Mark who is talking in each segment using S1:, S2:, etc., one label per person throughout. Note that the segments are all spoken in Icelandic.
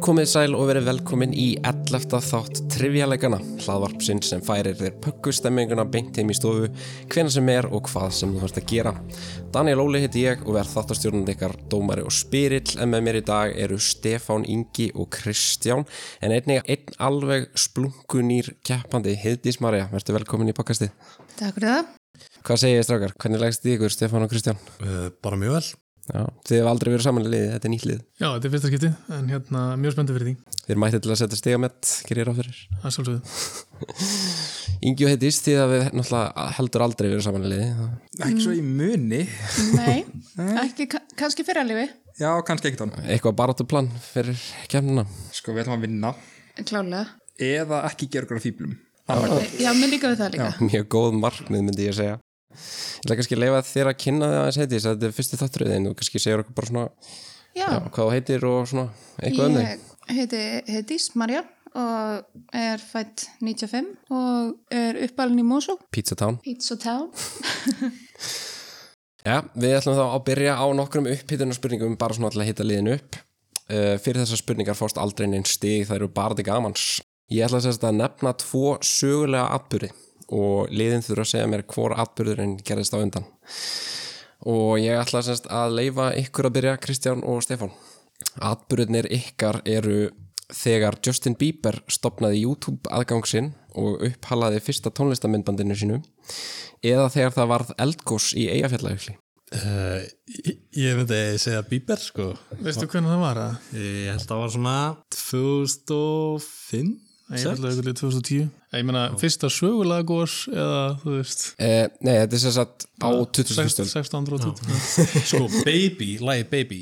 S1: komið sæl og verið velkomin í 11. þátt Trivialegana, hlaðvarpsinn sem færir þér pökkustemminguna beint heim í stofu, hvena sem er og hvað sem þú þarfst að gera. Daniel Óli heiti ég og verð þáttastjórnandi ykkar dómari og spyrill en með mér í dag eru Stefán Ingi og Kristján en einnig einn alveg splunkunýr keppandi Heiðdís Marja, verður velkomin í pakkastið.
S2: Takk fyrir það.
S1: Hvað segir ég strákar? Hvernig leggst þið ykkur Stefán og Kristján?
S3: Uh, bara mjög vel.
S1: Já, þið hefur aldrei verið saman í liði, þetta er nýtt lið.
S4: Já, þetta er fyrsta skipti, en hérna, mjög spenntið fyrir því,
S1: Þið er mættið til að setja stigamett, gerir ég ráð fyrir.
S4: það er svolítið.
S1: Ingi og heitist því að við náttúrulega heldur aldrei verið saman í liði.
S2: Mm.
S3: Ekki svo í muni.
S2: Nei, ekki, ka- kannski fyrir að lifi,
S3: Já, kannski ekkert hann.
S1: Eitthvað barátuplan fyrir kemnuna.
S3: Sko, við ætlum að vinna.
S2: klálega.
S3: Eða ekki gera okkur að fýblum.
S2: Já, mér líka við það líka.
S1: Mjög góð markmið myndi ég að segja. Ég ætla kannski að leifa þér að kynna þig aðeins heitist að þetta er fyrsti þátturðið þinn og kannski segir okkur bara svona
S2: Já,
S1: já, hvað þú heitir og svona eitthvað um þig.
S2: ég heiti Hedís Marja og er fætt 95 og er uppalinn í Mosó,
S1: Pizza Town.
S2: Pizza Town.
S1: Já, við ætlum þá að byrja á nokkrum upphittunar spurningum bara svona til að hitta liðin upp. Uh, fyrir þessar spurningar fórst aldrei neinn stig, það eru bara til gamans. Ég ætla sérst að nefna tvo sögulega atbyrði og liðin þurfa að segja mér hvor atbyrðurinn gerðist á undan. Og ég ætla sérst að leifa ykkur að byrja, Kristján og Stefán. Atbyrðinir ykkar eru þegar Justin Bieber stopnaði YouTube aðgang sinn og upphalaði fyrsta tónlistamindbandinu sínu eða þegar það varð eldgós í eigafjallaugli.
S5: Uh, ég- ég myndi segja Bíber sko
S4: Veistu hvernig það var að?
S5: ég held að það var svona 2005
S4: Ég
S5: sex?
S4: ætla að ykkurlega 2010. Eh, Ég meina, fyrsta sögulega gós eða, þú veist,
S1: Eh, nei, þetta er sem sagt á 2000 stöld.
S4: 1620.
S5: sko Baby, lagi Baby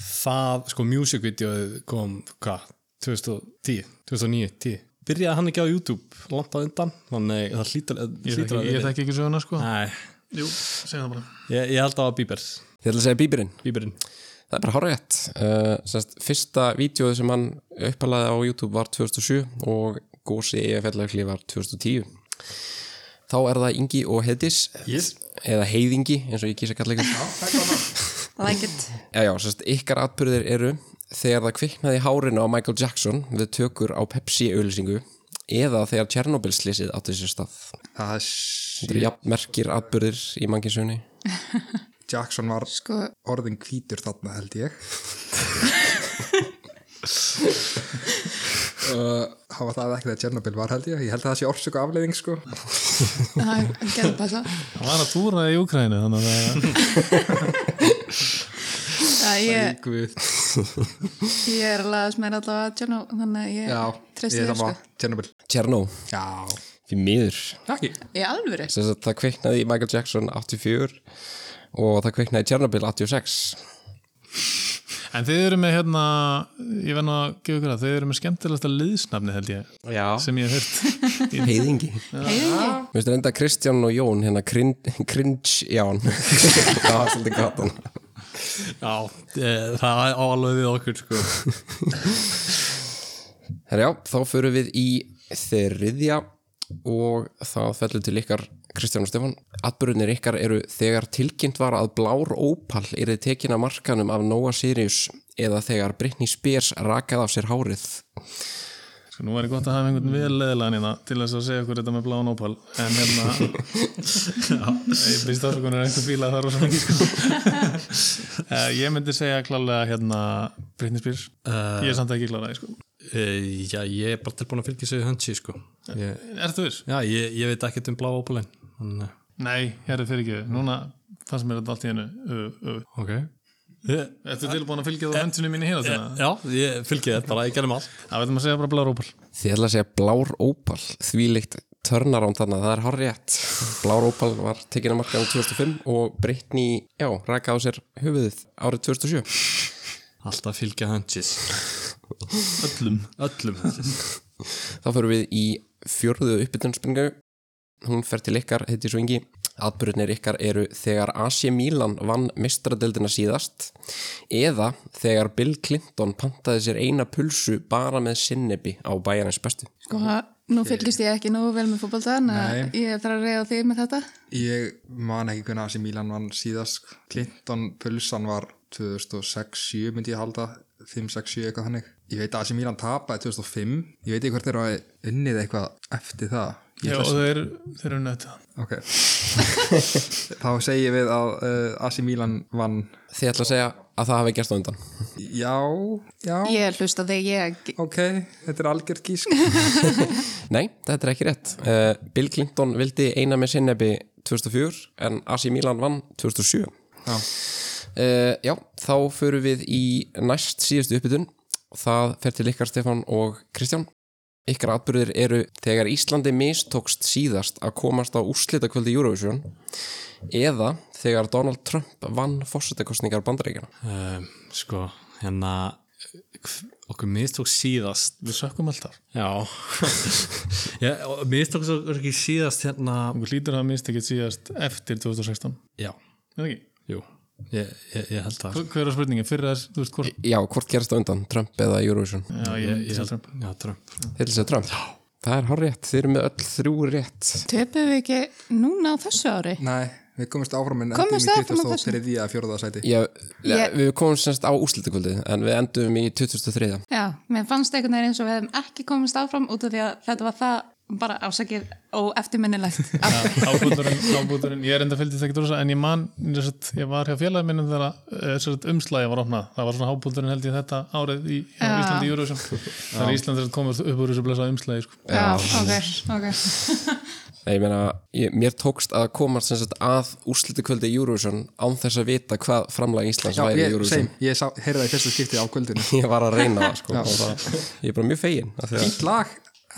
S5: það, sko music videoð kom hvað, 2010 2009, 10 byrjaði hann ekki á YouTube langt á undan þannig það hlýtur
S4: Ég
S5: hlýtur
S4: þekki- Ég
S5: vera-
S4: þekki ekki söguna, sko.
S5: Nei,
S4: Jú, segja það bara.
S5: ég, ég held að það var Bíber
S1: Þið ætla að segja bíberinn.
S5: Bíberinn
S1: Það er bara horrið. Uh, sagt, fyrsta vídjóð sem hann uppalaði á YouTube var 2007 og gósi eigafjallaugli var 2010. Þá er það Ingi og Hedis
S5: yes.
S1: eða Heiðingi eins og ég kýsa kalla ykkur.
S2: Like it.
S1: Já, já, sérst, ykkar atbyrðir eru þegar það kviknaði í hárinu á Michael Jackson við tökur á Pepsi-auðlýsingu eða þegar Tjernobyl-slísið átti sér stað.
S3: Það er... s-
S1: Þetta eru jafnmerkir atbyrðir í mannkinsunni.
S3: Jackson var
S2: Sko,
S3: orðin hvítur þarna, held ég. uh, það var það ekki þegar Chernobyl var, held ég. Ég held að það sé orsöku afleiðing, sko.
S2: það getur passa.
S4: Það var að túra í Úkrænu, þannig að
S2: Já, ég,
S3: Guð.
S2: ég er alveg að smera allavega tjörnú, þannig að
S3: Já,
S2: ég treysti
S3: ég
S2: þér
S3: það
S2: sko.
S3: var Chernobyl.
S1: Tjernó,
S3: Já.
S1: því miður.
S3: Ekki.
S2: Í alvöru?
S1: Sérst, að það kviknaði í Michael Jackson 84 og það kviknaði í Tjernobyl 86.
S4: En þið eru með hérna, ég verð nú að gefa ykkur að, þið eru með skemmtilegasta liðsnafni held ég,
S1: Já.
S4: sem ég hef hört.
S1: Heiðingi.
S2: Heiðingi?
S1: Mér finnst enda Kristján og Jón hérna crin- cringe Ján. það var svolítið gott hann.
S5: Já, eh, það á alveg við okkur sko.
S1: Herra já, þá förum við í þriðja og það fellur til ykkar Kristján og Stefán. Atbyrðunir ykkar eru þegar tilkynnt var að blár ópall er þið tekin af markanum af Noah Sirius eða þegar Britney Spears rakað af sér hárið.
S4: Sko, nú væri gott að hafa einhvern vel leðilegan hérna til þess að segja okkur þetta með bláan ópal en hérna ég byrst afsökunar einhver bíla að það er rosa mikið sko. Eh, ég myndi segja klálega hérna Britney Spears ég er samt ekki klálega sko.
S5: Eh, Já, ég er bara tilbúin að fylgja sig hansi sko. ég,
S4: Ertu viss?
S5: Já, ég, ég veit ekkert um blá opalinn Þannig,
S4: Nei, hér er fyrir ekki núna fannst mér þetta allt í hennu uh, uh.
S5: ok ég,
S4: Ertu tilbúin að
S3: Eh.
S4: fylgja þú höndinu mín í hérna þína?
S5: Eh, Já, ég fylgja þetta bara, ég gerðum allt
S4: Það veitum að segja bara bláar ópal
S1: Þið ætla að segja blár ópall, þvílíkt törnaránd þannig að það er hárið. Blár ópall var tekin af markanum 2005 og Britney, já, rakað á sér höfuðið árið 2007.
S5: Alltaf fylgja hansis
S4: öllum
S5: Öllum hansis
S1: Þá förum við í fjörðu uppbytunarspringu. Hún fer til ykkar, heiti svo yngi. Atbyrðunir ykkar eru þegar AC Milan vann mistradeldina síðast eða þegar Bill Clinton pantaði sér eina pulsu bara með sinnebi á bæjarins bestu.
S2: Sko, nú fylgist ég ekki nógu vel með fótbolta, en að ég þarf að reyða þig með þetta.
S3: Ég man ekki hvernig að sem Milan vann síðast sko. Clinton Pulsan var 2006-7 myndi ég halda 5-6-7 eitthvað þannig Ég veit að AC Milan tapaði 2005 Ég veit ekki hvort þeir hafa unnið eitthvað eftir það Ég
S4: Já,
S3: ætla
S4: og
S3: að-
S4: þeir, þeir eru nötta
S3: Ok Þá segjum við að uh, AC Milan vann
S1: Þið ætla að segja að það hafi gerst á undan
S3: Já, já,
S2: Ég hlusta þegar ég
S3: ok Þetta er algjörd gísk
S1: Nei, þetta er ekki rétt uh, Bill Clinton vildi eina með sinnebi 2004 en AC Milan vann 2007
S3: Já.
S1: Eh, Já, þá förum við í næst síðustu uppbytun Það fer til ykkar Stefán og Kristján Ykkar atbyrðir eru þegar Íslandi mistókst síðast að komast á úrslitakvöldi Eurovision eða þegar Donald Trump vann fórsetakostningar bandaríkjana
S5: um, sko, hérna hv- okkur mistók síðast
S4: Við sökkum alltaf
S5: Já, já og mistók svo er ekki síðast hérna
S4: Okkur hlýtur að minnst ekki síðast eftir 2016
S5: Já,
S4: Er það ekki?
S5: jú, ég, ég, ég held það sko.
S4: Hver- Hver er spurningin? Fyrir þess, þú veist hvort
S1: Já, hvort gerist á undan, Trump eða Eurovision
S4: Já, ég,
S5: ég,
S4: ég,
S5: ég
S4: ég,
S5: held, Já, Trump
S1: Þeir til að segja Trump Já. Það er hár rétt, þeir eru með öll þrjú rétt
S2: Töpum við ekki núna á þessu ári?
S3: Nei, við komumst áfram en
S2: Komumst áfram á
S3: og
S2: þessu.
S3: þriðja fjórða sæti
S1: Já,
S2: Ég-
S1: Við komum semst á úrslitakvöldið en við endum í 2003
S2: Já, mér fannst einhvern veginn eins og við hefum ekki komist áfram út af því að þetta var það bara ásakið og eftirminnilegt.
S4: ábúturinn, ábúturinn, ég er enda fylgdist ekkert úr þess en ég man, ég, satt, ég var hjá félagin minnum þegar eh, sem sagt, umslagið var opnað það var svona ábúturinn held ég þetta árið í hjá
S2: Já.
S4: Íslandi í Eurovision þegar Íslandi komið upp úr þessu blessaða umslagi sko.
S2: Já, ok, ok.
S1: Nei, ég meina, ég, mér tókst að komast semst að úrslitakvöldi Eurovision án þess að vita hvað framlag Íslands
S3: Já,
S1: væri í
S3: ég,
S1: Eurovision
S3: same, ég sá, heyrði það í fyrsta skipti á kvöldinu
S1: Ég var að reyna það sko, og það, ég er bara mjög fegin af því að
S3: Ítt lag,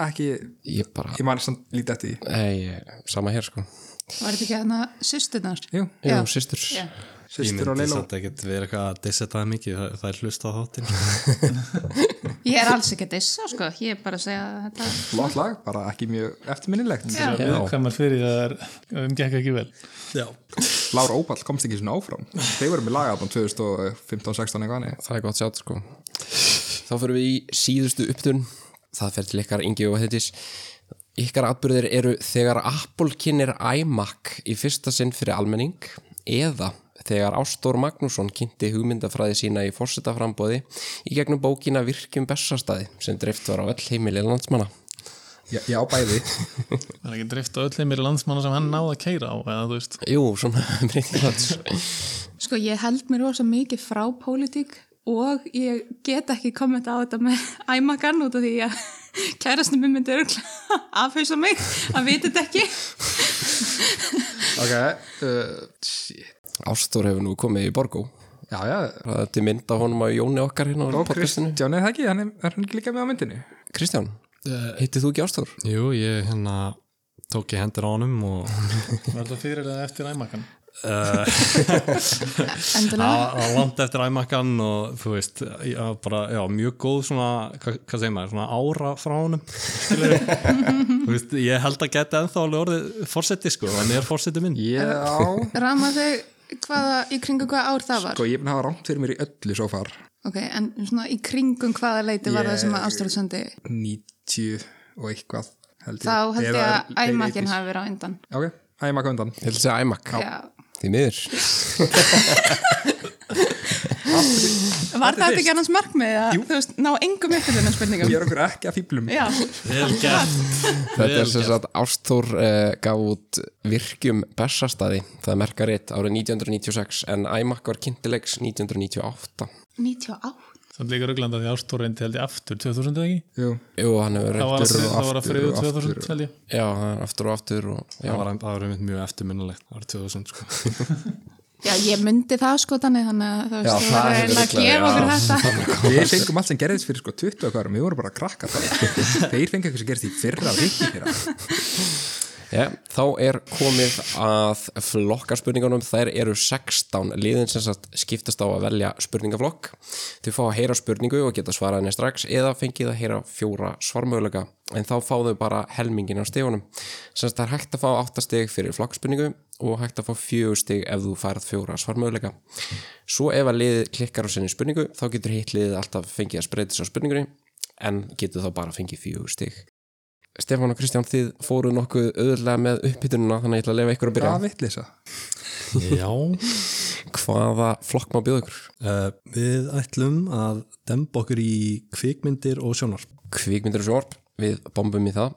S3: ekki Ég
S1: ég bara,
S3: man samt lítið eftir því
S1: ei, sama hér sko
S2: Var þetta ekki hérna systurnar?
S3: Jú,
S1: Jú, sýstur
S2: Já.
S5: Ég
S3: Sýstur og
S5: myndi
S3: Leiló
S5: samt ekkert vera eitthvað að dissa það mikið það, það er hlusta á þáttinn
S2: Ég er alls ekki að dissa, sko. Ég er bara að segja að þetta...
S3: Flott lag, bara ekki mjög eftirminnilegt
S2: Já.
S4: viðkvæmar fyrir það er að þeim gekk ekki vel
S5: Já
S3: Lára Óball komst ekki svona áfram Þeir voru með lagaðan 2015-16 eitthvað nei.
S1: það er gott sjátt sko þá fyrir við í síðustu upptun það fer til ykkar Ingi og Heitis ykkar atbyrðir eru þegar Apple kynir iMac í fyrsta sinn fyrir almenning eða þegar Ástór Magnússon kynnti hugmyndafræði sína í fórsetaframbóði í gegnum bókina Virkjum Bessastæði sem dreift var á öll heimili landsmanna
S3: Já, já, bæði
S4: það er ekki drift á öll heimir landsmanna sem hann náði að keira á eða þú veist
S1: Jú, svona breytinglands
S2: Sko, ég held mér rosa mikið frá pólitík og ég get ekki kommenta á þetta með æmakan út af því að kærastum minn myndi örgulega afhauðsa mig að vita þetta ekki.
S3: Ok uh, shit.
S1: Ástór hefur nú komið í Borgó
S3: Já, já
S1: það er til mynd af honum á Jóni okkar hérna á
S3: Og
S1: podcastinu
S3: Kristján er það ekki, hann er, er hann ekki líka með á myndinu
S1: Kristján, hittir þú ekki Ástór?
S5: Jú, ég hérna tók ég hendur á honum og
S4: var þetta fyrir eða eftir æmakan
S2: Endilega.
S5: á land eftir æmakkan og þú veist, já, bara, já, mjög góð svona, hva, hvað segir maður, svona ára frá honum skilurðu. Þú veist, ég held að geta ennþá alveg orðið fórseti sko, hann er fórseti minn
S3: Já
S2: Rama þau hvaða, í kringum hvaða ár það var?
S3: Sko, ég er búin að hafa rámt fyrir mér í öllu svo far
S2: Ok, en svona í kringum hvaða leiti var það sem að
S3: Ég-
S2: Ástráð sendi?
S3: 90 og eitthvað held
S2: Þá held ég
S3: Eða
S2: að
S3: er-
S2: æmakinn
S3: 80s.
S2: hafi verið á undan.
S3: Ok, æmak undan
S1: Ég ætla að segja iMac
S2: Já.
S1: Því miður.
S2: Var þetta ekki annars markmið að, þú veist, ná engum uppfyllunum spurningum?
S3: Ég er okkur ekki að fýblum
S2: Já,
S5: Vel gert
S1: Þetta er sem sagt Ástór uh, gaf út virkjum Bessastæði, það er merka rétt árið 1996 en iMac var kynntilegs 1998.
S2: 98.
S4: það er líka rugglanda því Ástór reyndi held ég aftur 2000 eða ekki
S3: Jú,
S1: Jú, hann hefur
S4: það var
S1: reyndur
S4: að þrið-
S1: og
S4: það var að
S3: aftur
S4: þriðju
S3: og
S4: 2000
S3: aftur.
S4: held ég
S1: já, hann er aftur og aftur og já,
S5: Það var, það var einmitt mjög eftirminnilegt, það var 2000 sko
S2: Já, ég myndi það sko þannig, þannig að þú
S1: Já,
S2: veist, þú
S1: það
S2: verður
S1: er
S2: eiginlega að gefa okkur þetta.
S3: við fengum allt sem gerðist fyrir sko 20 og hverjum, við vorum bara að krakka það Þeir fengu eitthvað sem gerðist í fyrra og hitt í fyrra
S1: já, þá er komið að flokkarspurningunum, þær eru 16 liðin sem sagt skiptast á að velja spurningaflokk. Þau fá að heyra spurningu og geta svarað henni strax eða fengið að heyra fjóra svarmögulega en þá fá þau bara helmingin á stegunum. Sem sagt það er hægt að fá 8 steg fyrir flokkspurningu og hægt að fá fjögur stig ef þú færð fjóra svarmöguleika. Svo ef að liðið klikkar á sinni spurningu þá getur hitt liðið alltaf fengið að spreyti svo spurningunni en getur þá bara fengið fjögur stig. Stefán og Kristján, þið fóruð nokkuð auðvitað með uppbytununa þannig að ég ætla að lefa ykkur að byrja.
S3: Hvað vitleisa?
S5: Já,
S1: Hvaða flokk má bjóða ykkur?
S5: uh, við ætlum að demba okkur í kvikmyndir og sjónar.
S1: Kvikmyndir og sjórp, við bombum í það.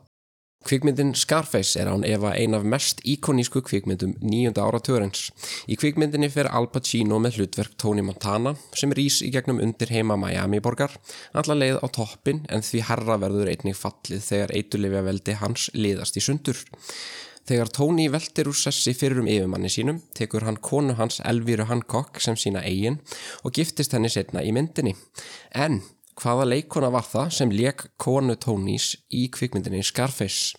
S1: Kvikmyndin Scarface er án efa ein af mest íkonísku kvikmyndum nýjunda áratörens. Í kvikmyndinni fer Al Pacino með hlutverk Tony Montana sem rís í gegnum undir heima Miami borgar, alla leið á toppin en því herra verður einnig fallið þegar eitulifja veldi hans liðast í sundur. Þegar Tony veltir úr sessi fyrir um yfirmanni sínum, tekur hann konu hans Elvíru Hancock sem sína eigin og giftist henni setna í myndinni. En hvaða leikona var það sem leik konu Tonys í kvikmyndinni Scarface?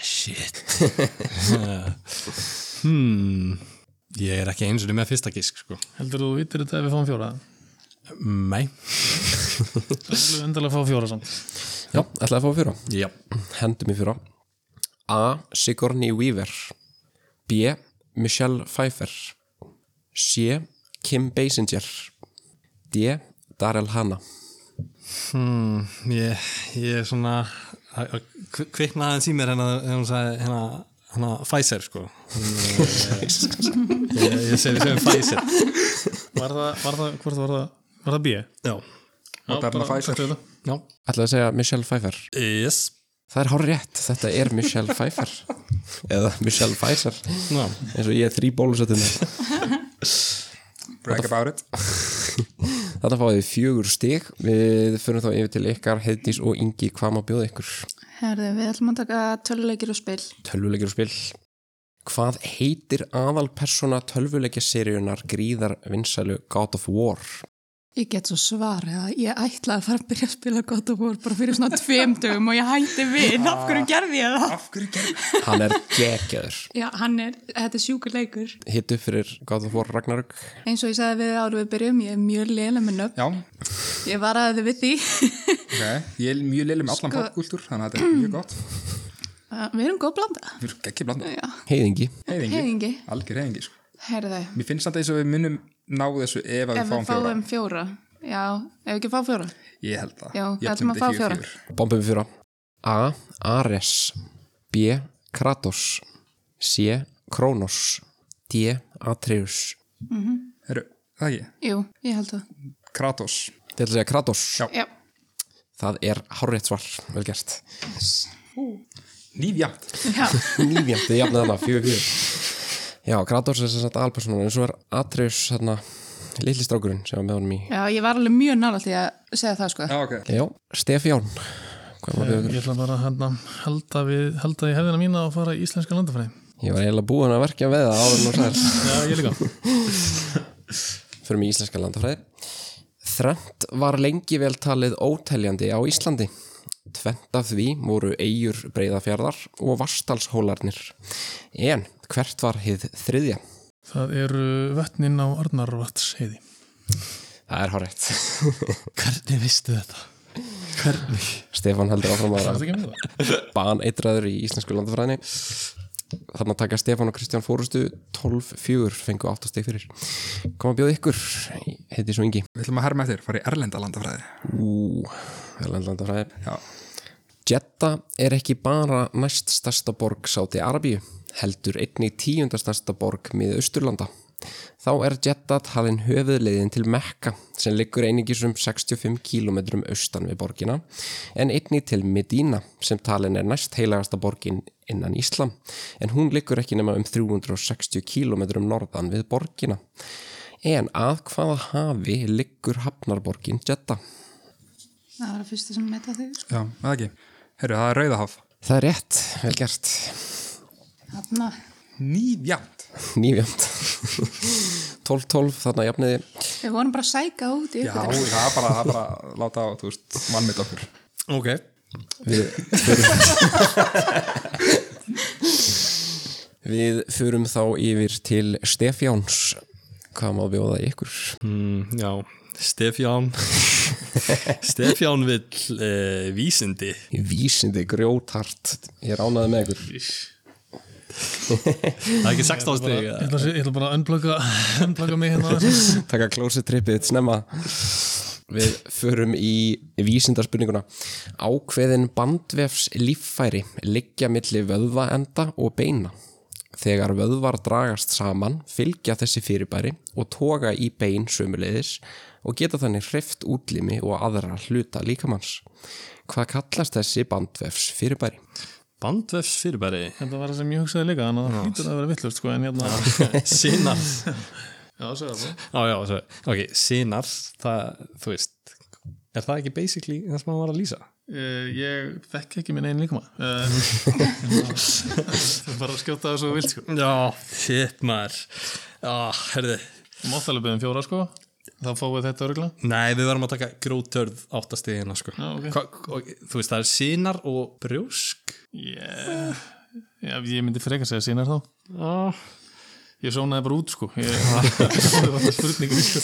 S5: Shit. hmm. Ég er ekki eins og með fyrsta gísk, sko.
S4: Heldur þú vittir þetta ef við fáum fjóra?
S5: Nei.
S4: Það er endalega að fá fjóra samt.
S1: Já, ætlaði að fá fjóra.
S5: Já.
S1: Hendum í fjóra. A. Sigourney Weaver B. Michelle Pfeiffer C. Kim Basinger D. Daryl Hannah
S5: Hmm, ég, ég er svona að að kvi- kvikna aðeins í mér hérna, hérna, sagði, hérna, hérna Pfizer sko Þannig, eh, ég, ég segi sem Pfizer
S4: Var það, var það, hvort var það, var það B?
S5: já,
S4: Já,
S3: Moderna
S4: bara
S3: Pfizer.
S4: taktu þetta.
S5: já,
S1: Ætlaði að segja Michelle Pfeiffer
S5: yes
S1: Það er hár rétt, þetta er Michelle Pfeiffer eða Michelle Pfizer
S5: já.
S1: eins og ég er þrý bólusettum
S3: Brag about it
S1: Þetta fáið þið fjögur stig Við förum þá yfir til ykkar Heiðdís og Ingi, hvað má bjóða ykkur?
S2: Herði, við ætlum að taka töluleikir og spil.
S1: Tölvuleikir og spil Hvað heitir aðalpersona tölvuleikja seríunar gríðar vinsælu God of War?
S2: Ég get svo svarið að ég ætla að fara að byrja að spila God of War bara fyrir svona tveim dögum og ég hætti við. Af hverju gerði ég það?
S3: Af hverju gerð?
S1: Hann er geggjaður
S2: Já, hann er, þetta er sjúkur leikur.
S1: Hitt upp fyrir God of War Ragnarök
S2: Eins og ég sagði við árum við byrjum, ég er mjög lélega með nöfn.
S3: Já,
S2: Ég varaði þið við því.
S3: ok Ég er mjög leilig með allan
S2: Sko-
S3: popkultúr Þannig að þetta er mjög gott
S2: Uh, við erum góð blanda.
S3: Við erum ekki blanda
S2: Já,
S1: Heiðingi
S2: Eh,
S3: Heiðingi
S2: heiðingi.
S3: Algjör heiðingi sko.
S2: Herði,
S3: Mér finnst þetta eins og við munum ná þessu ef að
S2: ef
S3: við fáum
S2: við
S3: fjóra
S2: fáum fjóra. Já, ef við ekki fá fjóra.
S3: Ég held það
S2: Já,
S3: Ég held
S2: ætlum að
S3: þetta
S2: fá
S3: ekki
S2: fjóra.
S3: fjögur.
S1: Bombum við fjóra A. Ares B. Kratos C. Kronos D. Atreus
S3: Herru, það ekki
S2: Jú, ég held það.
S3: Kratos
S1: Þetta er að segja Kratos
S3: Já.
S2: Já,
S1: Það er hárétt svar, vel gert
S3: Lífjamt
S2: já.
S1: Nýfjönd, þið jafnið þarna, fjögur fjögur Já, Kratos er sem sagt alpersonum en svo er Atreus þarna litli strákurinn sem var með honum í
S2: já, ég var alveg mjög nála til að segja það sko.
S3: Já, ok
S1: Já, Stefján Hvað var
S4: Ég
S1: bjóður?
S4: ætla bara að hérna, halda, við, halda í hefðina mína og fara í íslenska landafræði.
S1: Ég var eiginlega búin að verkja með það áður en og sæðir
S4: Já, ég líka.
S1: fyrir mig íslenska landafræði. Þrennt var lengi vel talið óteljandi á Íslandi. Tvent af því voru eigur breyðafjarðar og vastalshólarnir. En hvert var hið þriðja?
S4: Það eru vötnin á Arnarvats heiði.
S1: Það er hárætt.
S5: hvernig vistu þetta? hvernig?
S1: Stefan heldur áfram að
S4: Það
S1: vera
S4: er ekki með það.
S1: baneitraður í íslensku landafræðinni. Þannig að taka Stefan og Kristján fórustu 12-4 fengu 8 steg fyrir. Koma að bjóða ykkur, heiti svo yngi.
S3: Við ætlum að herma eftir, fara í erlenda landafræði
S1: Ú, landafræði.
S3: Já,
S1: Jeddah er ekki bara næst stærsta borg Sáti Arabíu, heldur einnig tíunda stærsta borg miða Austurlanda. Þá er Jeddah talin höfuðleiðin til Mekka sem liggur einingis um 65 km austan við borgina en einnig til Medina sem talin er næst heilagasta borgin innan Íslam en hún liggur ekki nema um 360 km norðan við borgina. En að hvaða hafi liggur hafnarborgin Jeddah?
S2: Það var að fyrsta sem metta þig.
S3: já, eða ekki Herru, það er Rauðahaf
S1: Það er rétt, vel gert.
S2: Hanna.
S3: Nýfjamt
S1: nýfjönd 12-12 þarna jafniði
S2: Við vorum bara að sæka út í
S3: Já, það er bara, það er bara að láta á, þú veist, vannmynd okkur
S5: ok,
S1: Við förum þá yfir til Stefjáns hvað má bjóða ykkur
S5: mm, já Stefján Stefján vill eh, vísindi
S1: vísindi grjótart ég er ánaði með ykkur
S5: það er ekki 16 steg
S4: Ég ætla, að sé- ég ætla bara að unplugga, unplugga mig hérna. aðeins.
S1: taka klósitrippið snemma Við förum í vísindarspurninguna. Ákveðin bandvefs líffæri liggja milli vöðvaenda og beina. Þegar vöðvar dragast saman fylgja þessi fyrirbæri og toga í bein sömuleiðis og geta þannig hreift útlimi og aðra hluta líkamanns. Hvað kallast þessi bandvefs fyrirbæri?
S5: Bandvefs fyrirbæri
S4: Þetta var það sem ég hugsaði líka, þannig að það hlýtur að vera vittlust sko, en hérna
S5: Sinar
S4: Já, segja það
S5: Já, já, svo, ok, sinar það, þú veist er það ekki basically það sem hann var að lýsa?
S4: Uh, ég þekk ekki minn einn líkuma uh, bara að skjóta það svo vilt sko.
S5: Já, þitt maður Já, herði
S4: máttalega byggðum fjóra sko þá fáum við þetta örgla
S5: Nei, við verðum að taka grótörð áttastegina sko.
S4: Já, ok.
S5: Hva, ok, Þú veist, það er sinar og brjósk
S4: yeah. Já, ég myndi frekar segja sínar þá
S5: Já
S4: ég sónaði bara út sko ég, það var spurningin sko.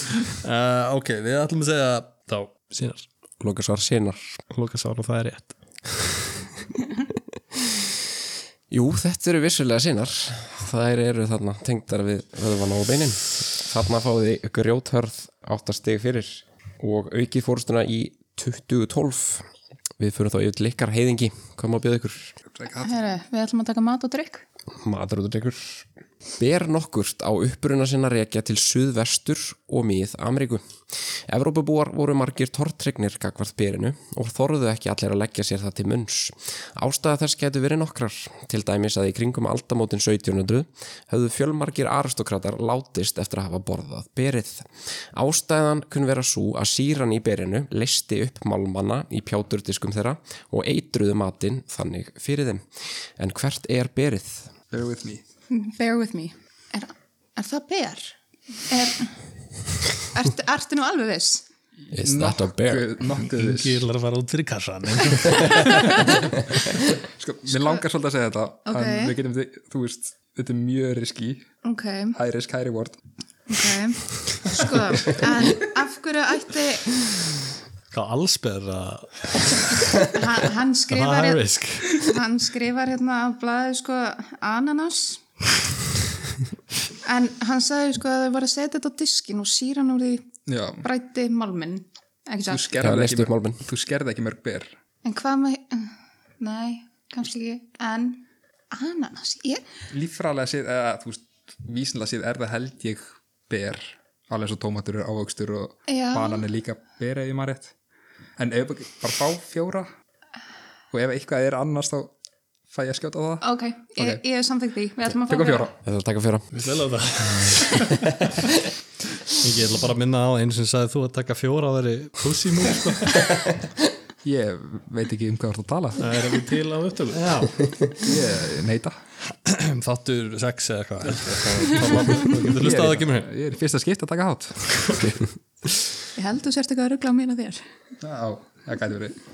S5: Uh, ok, við ætlum að segja þá sínar
S1: Loka svar senar.
S5: Loka sár og það er rétt
S1: Jú, þetta eru vissulega senar. Þær eru þarna tengdar við vöðvan og beinin. Þarna fáði grjóthörð áttastig fyrir og auki fórstuna í 2012. Við fyrir þá yfir til ykkar heiðingi. Hvað má bjóða ykkur?
S2: Herre, við ætlum að taka mat og drikk.
S1: Matur út að tekur. Ber nokkurt á uppruna sinna rekja til suðvestur og mið Ameríku. Evrópubúar voru margir tortrygnir gagvart berinu og þorðu ekki allir að leggja sér það til munns. Ástæða þess getur verið nokkrar. Til dæmis að í kringum aldamótin 1700 höfðu fjölmargir aristokratar látist eftir að hafa borðað berið. Ástæðan kunn vera svo að síran í berinu listi upp málmanna í pjáturdiskum þeirra og eitruðu matinn þannig fyrir þeim. En hvert er berið?
S3: Bear with me
S2: Bear with me. Er, er það ber? Er, ert, ertu nú alveg viss?
S1: Is that a bear?
S3: Nokkuð- Nokkuð viss
S4: ég ætlar að fara út fyrir kassan
S3: Sko, mér langar svolítið að segja þetta
S2: Ok.
S3: En við getum, þi- þú veist, þetta er mjög riski
S2: Ok,
S3: High risk, high reward
S2: ok. Sko, en af hverju ætti,
S5: Hvað allsber að
S2: hann, hann
S5: það
S2: skrifar,
S5: er
S2: hér-
S5: risk
S2: hann skrifar hérna á blaði sko ananas. En hann sagði sko að þau voru að setja þetta á diskin og síran úr því
S3: Já,
S2: brætti málminn. Ekki
S3: þú
S2: satt?
S1: Já,
S3: skerði
S1: leystu
S3: ekki,
S1: upp málminn.
S3: mörg- þú skerði ekki mörg ber
S2: En hvað með, nei, kannski ekki, en ananas, ég,
S3: Líffræðilega séð, eða þú veist, vísinlega séð er það held ég ber Alveg svo tómatur er ávöxtur og
S2: Já.
S3: banan er líka ber eða ég maður rétt En ef bara fá fjóra Og ef eitthvað er annars þá fæ ég að skjóta á það
S2: ok, ég,
S3: Ok.
S2: ég er samþyggt því, við ætlum að
S3: Tökum fjóra
S1: Þetta er að taka fjóra.
S5: Ég ætla bara að minna á einu sem sagði þú að taka fjóra að veri pussy move sko.
S3: Ég veit ekki um hvað þú ert að tala
S4: það er ekki til á upptöku
S5: Já,
S3: Ég neita
S5: þáttur sex eða eitthvað Þá- þá- Þú getur
S3: Ég er
S5: hlustað að
S3: í-
S5: það kemur heim
S3: Ég er í fyrsta skipt að taka hát
S2: Ég held þú sért eitthvað að ruggla á mína þér.
S3: Já, það gæti verið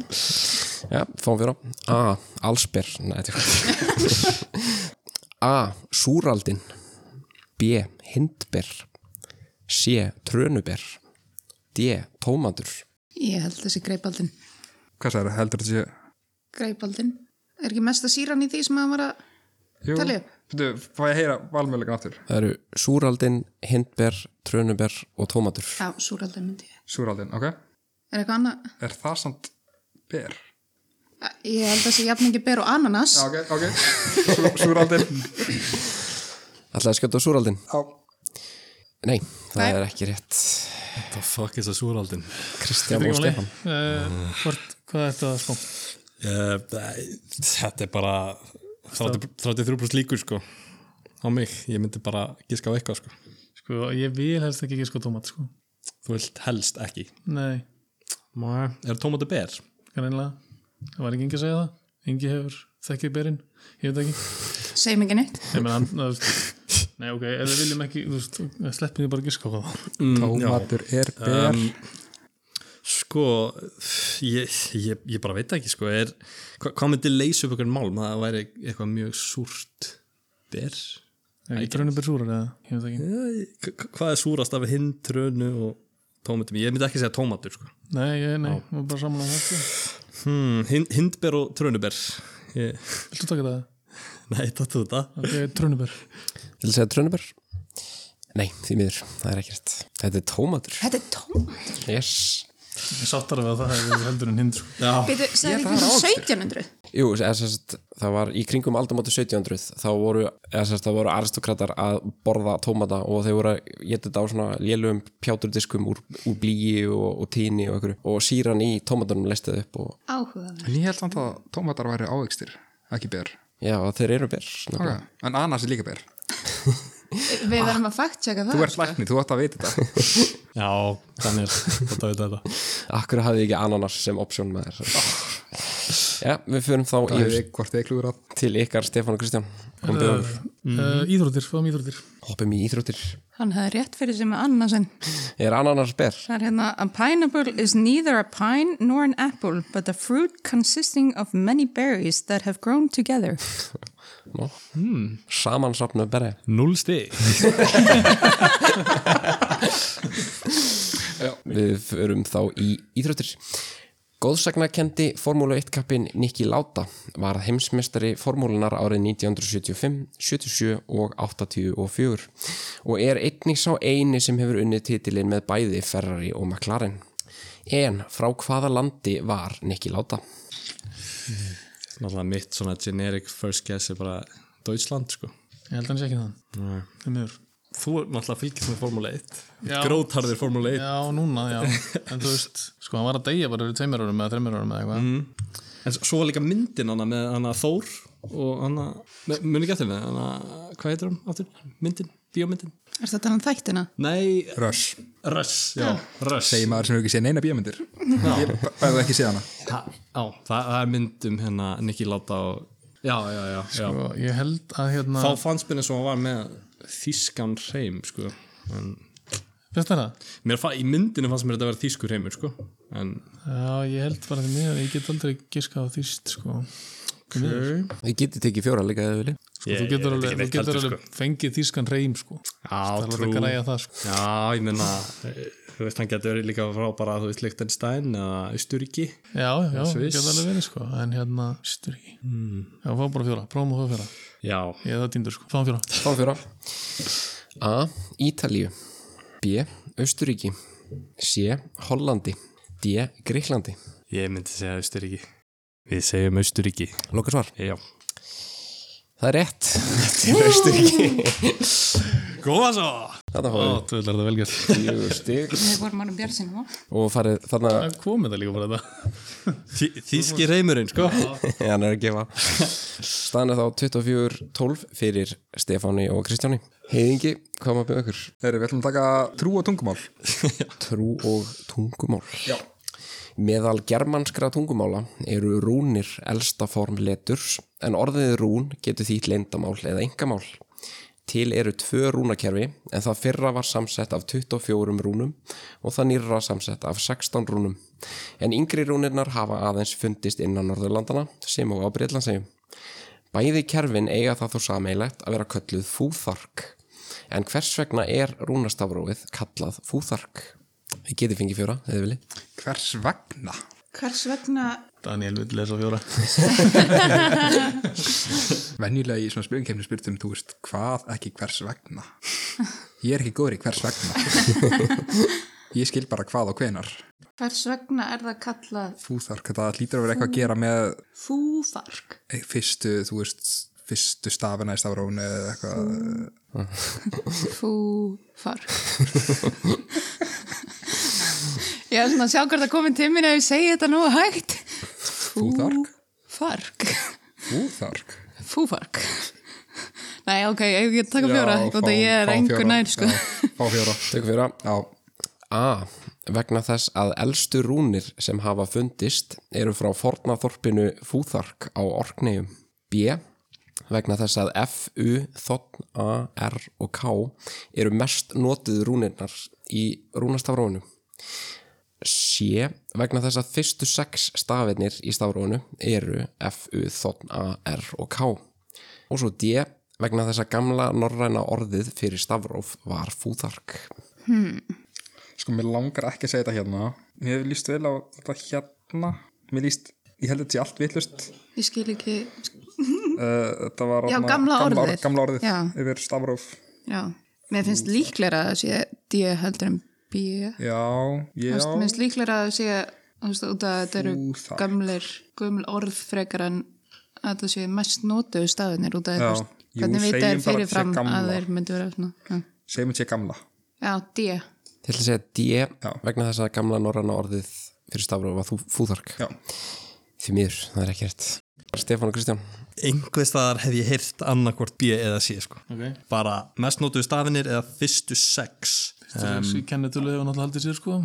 S1: Já, fáum fjóra. A. Allsber. Nei, þetta er hvað. A. Súraldin. B. Hindber. C. Trönuber. D. Tómatur.
S2: Ég held þessi greipaldin.
S3: Hvað sagði, heldur þetta sé
S2: Greipaldin, er ekki mesta síran í því sem að var að,
S3: Jú,
S2: Talið upp.
S3: Bíddu, Fá ég að heyra valmöðlega aftur
S1: Það eru súraldin, hindber, trönuber og tómatur.
S2: já, súraldin myndi ég.
S3: Súraldin, ok
S2: Er eitthvað annað,
S3: Er það samt ber?
S2: ég held þessi jafningi ber og ananas.
S3: Já, ok, ok Súraldin
S1: Ætlaði að skjóta á súraldin?
S3: Já,
S1: Nei, það
S2: Nei.
S1: er ekki rétt.
S5: The fuck is a súraldin?
S1: Kristján og Stefán.
S4: uh, hvort, hvað er þetta sko
S5: Uh, þetta er bara 30 33% líkur sko á mig, ég myndi bara giska á eitthvað sko
S4: sko, ég vil helst ekki ekki sko tómat sko
S5: Þú vilt helst ekki
S4: nei,
S5: Má- Er tómata ber?
S4: greinlega það var ekki engi að segja það engi hefur þekkið berinn, ég veit ekki
S2: Segjum ekki neitt.
S4: Ég meina, hann- þú veist, Nei, ok, ef við viljum ekki þú veist, sleppum því bara að giska á það
S1: Mm,
S3: tómatur er
S1: Um.
S3: ber
S5: Um, Sko, ég, ég, ég bara veit ekki sko, er, hva, hvað myndi leysa upp einhvern málm, það væri eitthvað mjög súrt ber
S4: Er ekki trönubir súrar eða? Ég veit ekki.
S5: Æ, hva- hvað er súrast af hinn, trönu og tómatum, ég myndi ekki segja tómatur sko.
S4: Nei, ég, nei, við erum bara saman á það. sko.
S5: hmm, hin, hindber og trönuber ég,
S4: Viltu taka það?
S5: nei, tattu þetta
S4: Ok, trönubir.
S1: Vil segja trönuber? Nei, því miður. Það er ekki rétt. Þetta er tómatur.
S2: Þetta er tómat.
S1: Yes.
S4: Ég sáttar að það, það er heldur en hind, sko.
S5: já,
S2: Býtu,
S3: Ég,
S2: segði
S3: það
S2: ekki
S3: er
S2: svo
S3: ávöxtur.
S2: 1700?
S1: Jú, eða sem sagt, það var í kringum aldamóti 1700 þá voru, eða sem sagt, það voru aristokratar að borða tómata og þeir voru að geta þetta á svona lélugum pjáturdiskum úr, úr blíi og, og tíni og einhverju og síran í tómatanum leistið upp og
S2: Áhugaður.
S3: En ég held samt að tómatar væri ávegstir, ekki ber.
S1: já, þeir eru ber
S3: Okay. En annars er líka ber.
S2: Við verðum að fact-checka það.
S3: Þú ert lækni, þú ætti að veit þetta.
S5: Já, Daniel, gott að vita þetta
S1: Akkur hafði ég ekki ananas sem option með þér Já, við förum þá
S3: Það
S1: yfir
S3: hefði hvort þið klúður að.
S1: til ykkar Stefán og Kristján Kom bjóður,
S4: uh, Íþróttir, fáum íþróttir
S1: hoppum í íþróttir
S2: Hann hefði rétt fyrir sig með annarsen.
S1: Er ananas ber?
S2: Það er hérna, a pineapple is neither a pine nor an apple, but a fruit consisting of many berries that have grown together.
S1: Nó, hmm. samansapnu beri
S5: Null stig
S1: Við förum þá í íþróttir Góðsagnakendi Formúlu 1 kappin Nikki Láta var heimsmeistari formúlunar árið 1975, 77 og 84 og er einnig sá eini sem hefur unnið titilin með bæði Ferrari og McLaren. En frá hvaða landi var Nikki Láta?
S5: Náttúrulega mitt svona generic first guess er bara Deutschland sko
S4: Ég held að hann sé ekki þann
S5: Nei.
S4: Þeim miður
S5: Þú er náttúrulega fylgist með Formule 1
S4: Já.
S5: Grótarðir Formule 1
S4: Já, núna, já En þú veist, sko, hann var að deyja bara fyrir tveimur árum eða þreimur árum eða eitthvað mm.
S5: En s- svo var líka myndin hana með hana Þór og hana, me- muni ekki eftir með hana, hvað heitir hann aftur? Myndin, bíómyndin?
S2: Er þetta hann þættina?
S5: Nei,
S3: Rush.
S5: Russ, já,
S4: Ah.
S5: Russ
S3: Segir maður sem hefur ekki séð neina bíómyndir. Ég hefði ekki séð hana.
S5: Þa, á, það, það er mynd um hérna Nicky Láta og Já, já, já, já.
S4: Og ég held að hérna
S5: Þá fannst mér eins og hann var með þýskan hreim, sko en,
S4: Fyrst þér það?
S5: mér, fa- Í myndinu fannst mér þetta að vera þýskur heimur, sko En,
S4: Já, ég held bara því miður Ég get aldrei giskað á þýst, sko
S5: okay.
S1: Ég geti tekið fjóra líka eða vilja.
S4: Sko, þú getur alveg, þú getur alveg fengið þýskan reym, sko.
S5: sko. Já,
S4: Það er alveg
S5: trú
S4: að græja það, sko.
S5: Já, ég meina eh, Þú veist, hann getur verið líka frá bara, þú veist, Lichtenstein eða Austuríki
S4: Já, já, það
S5: Sviss.
S4: getur alveg verið, sko. En hérna, sýstur ekki. Mm. Já, fá bara fjóra, prófum að fá fjóra.
S5: Já,
S4: Ég er það týndur, sko. Fáum fjóra.
S1: Fáum fjóra. A. Ítalíu B. Östuríki C. Hollandi D. Gríklandi
S5: ég myndi segja Austuríki Við segjum Austuríki
S1: Loka svar.
S5: Já
S1: Það er rétt. Þetta er Östuríki.
S5: Góða svo
S1: Þetta
S4: Ó,
S1: fáum
S4: þú veldar það velgjörð.
S1: við fjögur stig
S2: Við vorum hann um björnsinum á.
S1: og farið þarna
S4: Það komið það líka bara þetta.
S5: Þíski reymurinn, sko
S1: hann er að gefa staðan er þá 24-12 fyrir Stefáni og Kristjáni Heiðingi, hvað maður byrja ykkur?
S3: Þeir eru, við ætlum að taka trú og tungumál.
S1: Trú og tungumál Já Meðal germanskra tungumála eru rúnir elsta form leturs en orðið rún getur þýtt leyndamál eða engamál. Til eru tvö rúnakerfi en það fyrra var samsett af 24 rúnum og það nýrra samsett af 16 rúnum. En yngri rúnirnar hafa aðeins fundist innan Norðurlandana sem og á Breitlandsegjum. Bæði kerfin eiga það þó sameilegt að vera kölluð fúþark. En hvers vegna er rúnastafrófið kallað fúþark? Ég geti fengið fjóra, eða vilji.
S3: Hvers vegna?
S2: Hvers vegna
S4: Daniel vill lesa fjóra.
S3: Venjulega í svona spjöngkefni spyrtum, þú veist, hvað ekki hvers vegna? Ég er ekki góður í hvers vegna. Ég skil bara hvað og hvenar.
S2: Hvers vegna er það kallað
S3: Þú þarf, þetta hlýtur að vera eitthvað að gera með
S2: fúfark?
S3: fyrstu, þú veist, fyrstu stafina í stafrónu eða eitthvað.
S2: Fúfark. Ég er svona að sjá hvort það komið til mín ef ég segi þetta nú hægt.
S3: Fúþark?
S2: Fúfark.
S3: Þú þarf.
S2: Fúfark. Nei, ok, ég get taka fjóra,
S3: Já,
S2: góta,
S3: fá-
S2: ég er
S3: fá
S2: engur
S3: fjóra.
S2: nær, sko.
S3: Já, Fá fjóra.
S1: Tökum fjóra.
S3: Já,
S1: A. Vegna þess að elstu rúnir sem hafa fundist eru frá fornaþorpinu Fúþark á Orkneyjum. B. Vegna þess að F, U, Þotn, A, R og K eru mest notuð rúnirnar í rúnastafrónu. C. Vegna þess að fyrstu sex stafirnir í stafrónu eru F, U, Þotn, A, R og K. Og svo D. Vegna þess að gamla norræna orðið fyrir stafróf var Fúþark.
S3: sko, mér langar ekki að segja þetta hérna. Mér hefur líst vel á þetta hérna. Mér líst, ég held að þetta sé allt vitlust.
S2: Ég skil ekki,
S3: Uh, þetta var
S2: Já,
S3: þarna-
S2: gamla
S3: gamla
S2: orðið.
S3: Gamla orðið
S2: Já.
S3: yfir stafróf.
S2: já. Mér finnst líklega að það sé D heldur en B.
S3: Já, já.
S2: Mér finnst líklega að það sé þú veist, út af að þetta eru
S3: Fúþark.
S2: gamlir, gömul orð frekar en að það séu mest notuðu staðunir út af
S3: Já.
S2: eitthvað
S3: Jú,
S2: hvernig vita
S3: segjum
S2: er
S3: bara
S2: fyrirfram
S3: sé gamla.
S2: að þeir myndu vera svona já.
S3: segjum þetta sé gamla
S2: já, D
S1: Ég ætla að segja D
S3: Já.
S1: vegna þess að gamla norranna orðið fyrir stafru var þú fúþork.
S3: Já.
S1: Því miður, það er ekki rétt. Stefán og Kristján.
S5: einhver staðar hef ég heyrt annarkvort B eða C sko.
S4: Ok.
S5: bara mest notuðu stafinir eða fyrstu sex
S4: Þessi kennitölu hefur náttúrulega haldið sér sko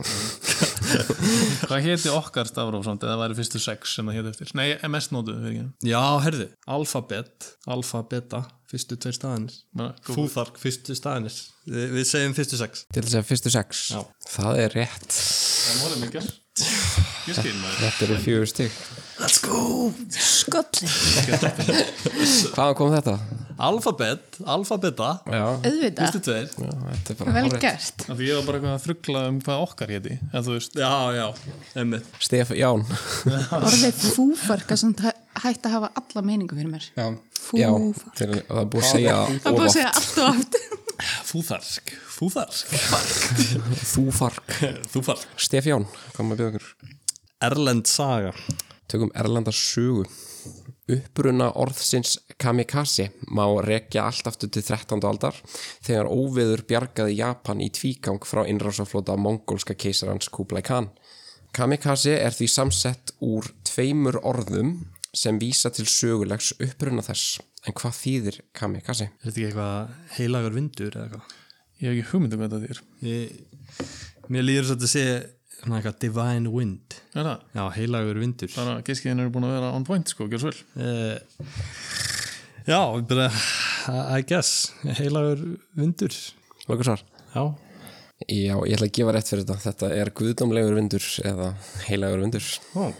S4: Hm. Hvað héti okkar stafróf samt eða væri fyrstu sex sem það héti eftir? Nei, MS nótu, fyrir ekki
S5: já, herðu, alfabet alfa, beta, fyrstu tveir stafinir
S4: Ná, góð.
S5: fúþark, fyrstu stafinir Vi, við segjum fyrstu sex
S1: Ég ætla að segja fyrstu sex.
S5: Já.
S1: Það er rétt.
S4: Það er mólið mikið Ég skil maður
S1: Þetta eru fjögur stygg.
S5: let's go
S2: skolli,
S1: Hvaðan kom þetta?
S5: alfabet, alfa, beta,
S1: Já,
S2: auðvitað,
S5: fyrstu tveir
S1: já þetta er bara
S2: vel
S1: hárrétt.
S2: gert
S4: Af Því ég var bara eitthvað að þruggla um hvað okkar héti En þú veist,
S5: já, já, emmitt
S1: Stefán, Ján.
S2: orðið fúfarka sem hætti að hafa alla meiningu fyrir mér
S3: já.
S1: Já,
S2: fúfarka,
S1: þeir- það er búið að segja
S2: það er búið
S1: of
S2: að segja allt og oft
S5: fúþark, fúþark
S1: oft. Þúfark.
S5: fúþark
S1: Stefján, kom að bjóða okkur.
S5: Erlend saga
S1: Tökum Erlanda sögu. Uppruna orðsins kamikaze má rekja allt aftur til 13. aldar þegar óveður bjargaði Japan í tvígang frá innrásaflota mongólska keisarans Kublai Khan. Kamikaze er því samsett úr tveimur orðum sem vísa til sögulegs uppruna þess. En hvað þýðir kamikaze?
S5: er þetta ekki eitthvað heilagur vindur eða eitthvað
S4: ég hef ekki hugmyndu hvað þetta þýr
S5: Ég, mér líður svo að þetta sé svona eitthvað divine wind
S4: Er það?
S5: já, heilagur vindur
S4: Bara giskiðin eru búin að vera on point sko, gjör svo vel
S5: uh, já, bara I guess, heilagur vindur
S1: Lókur svar.
S5: já,
S1: Já, ég ætla að gefa rétt fyrir þetta. Þetta er guðdómlegur vindur eða heilagur vindur.
S5: Ó,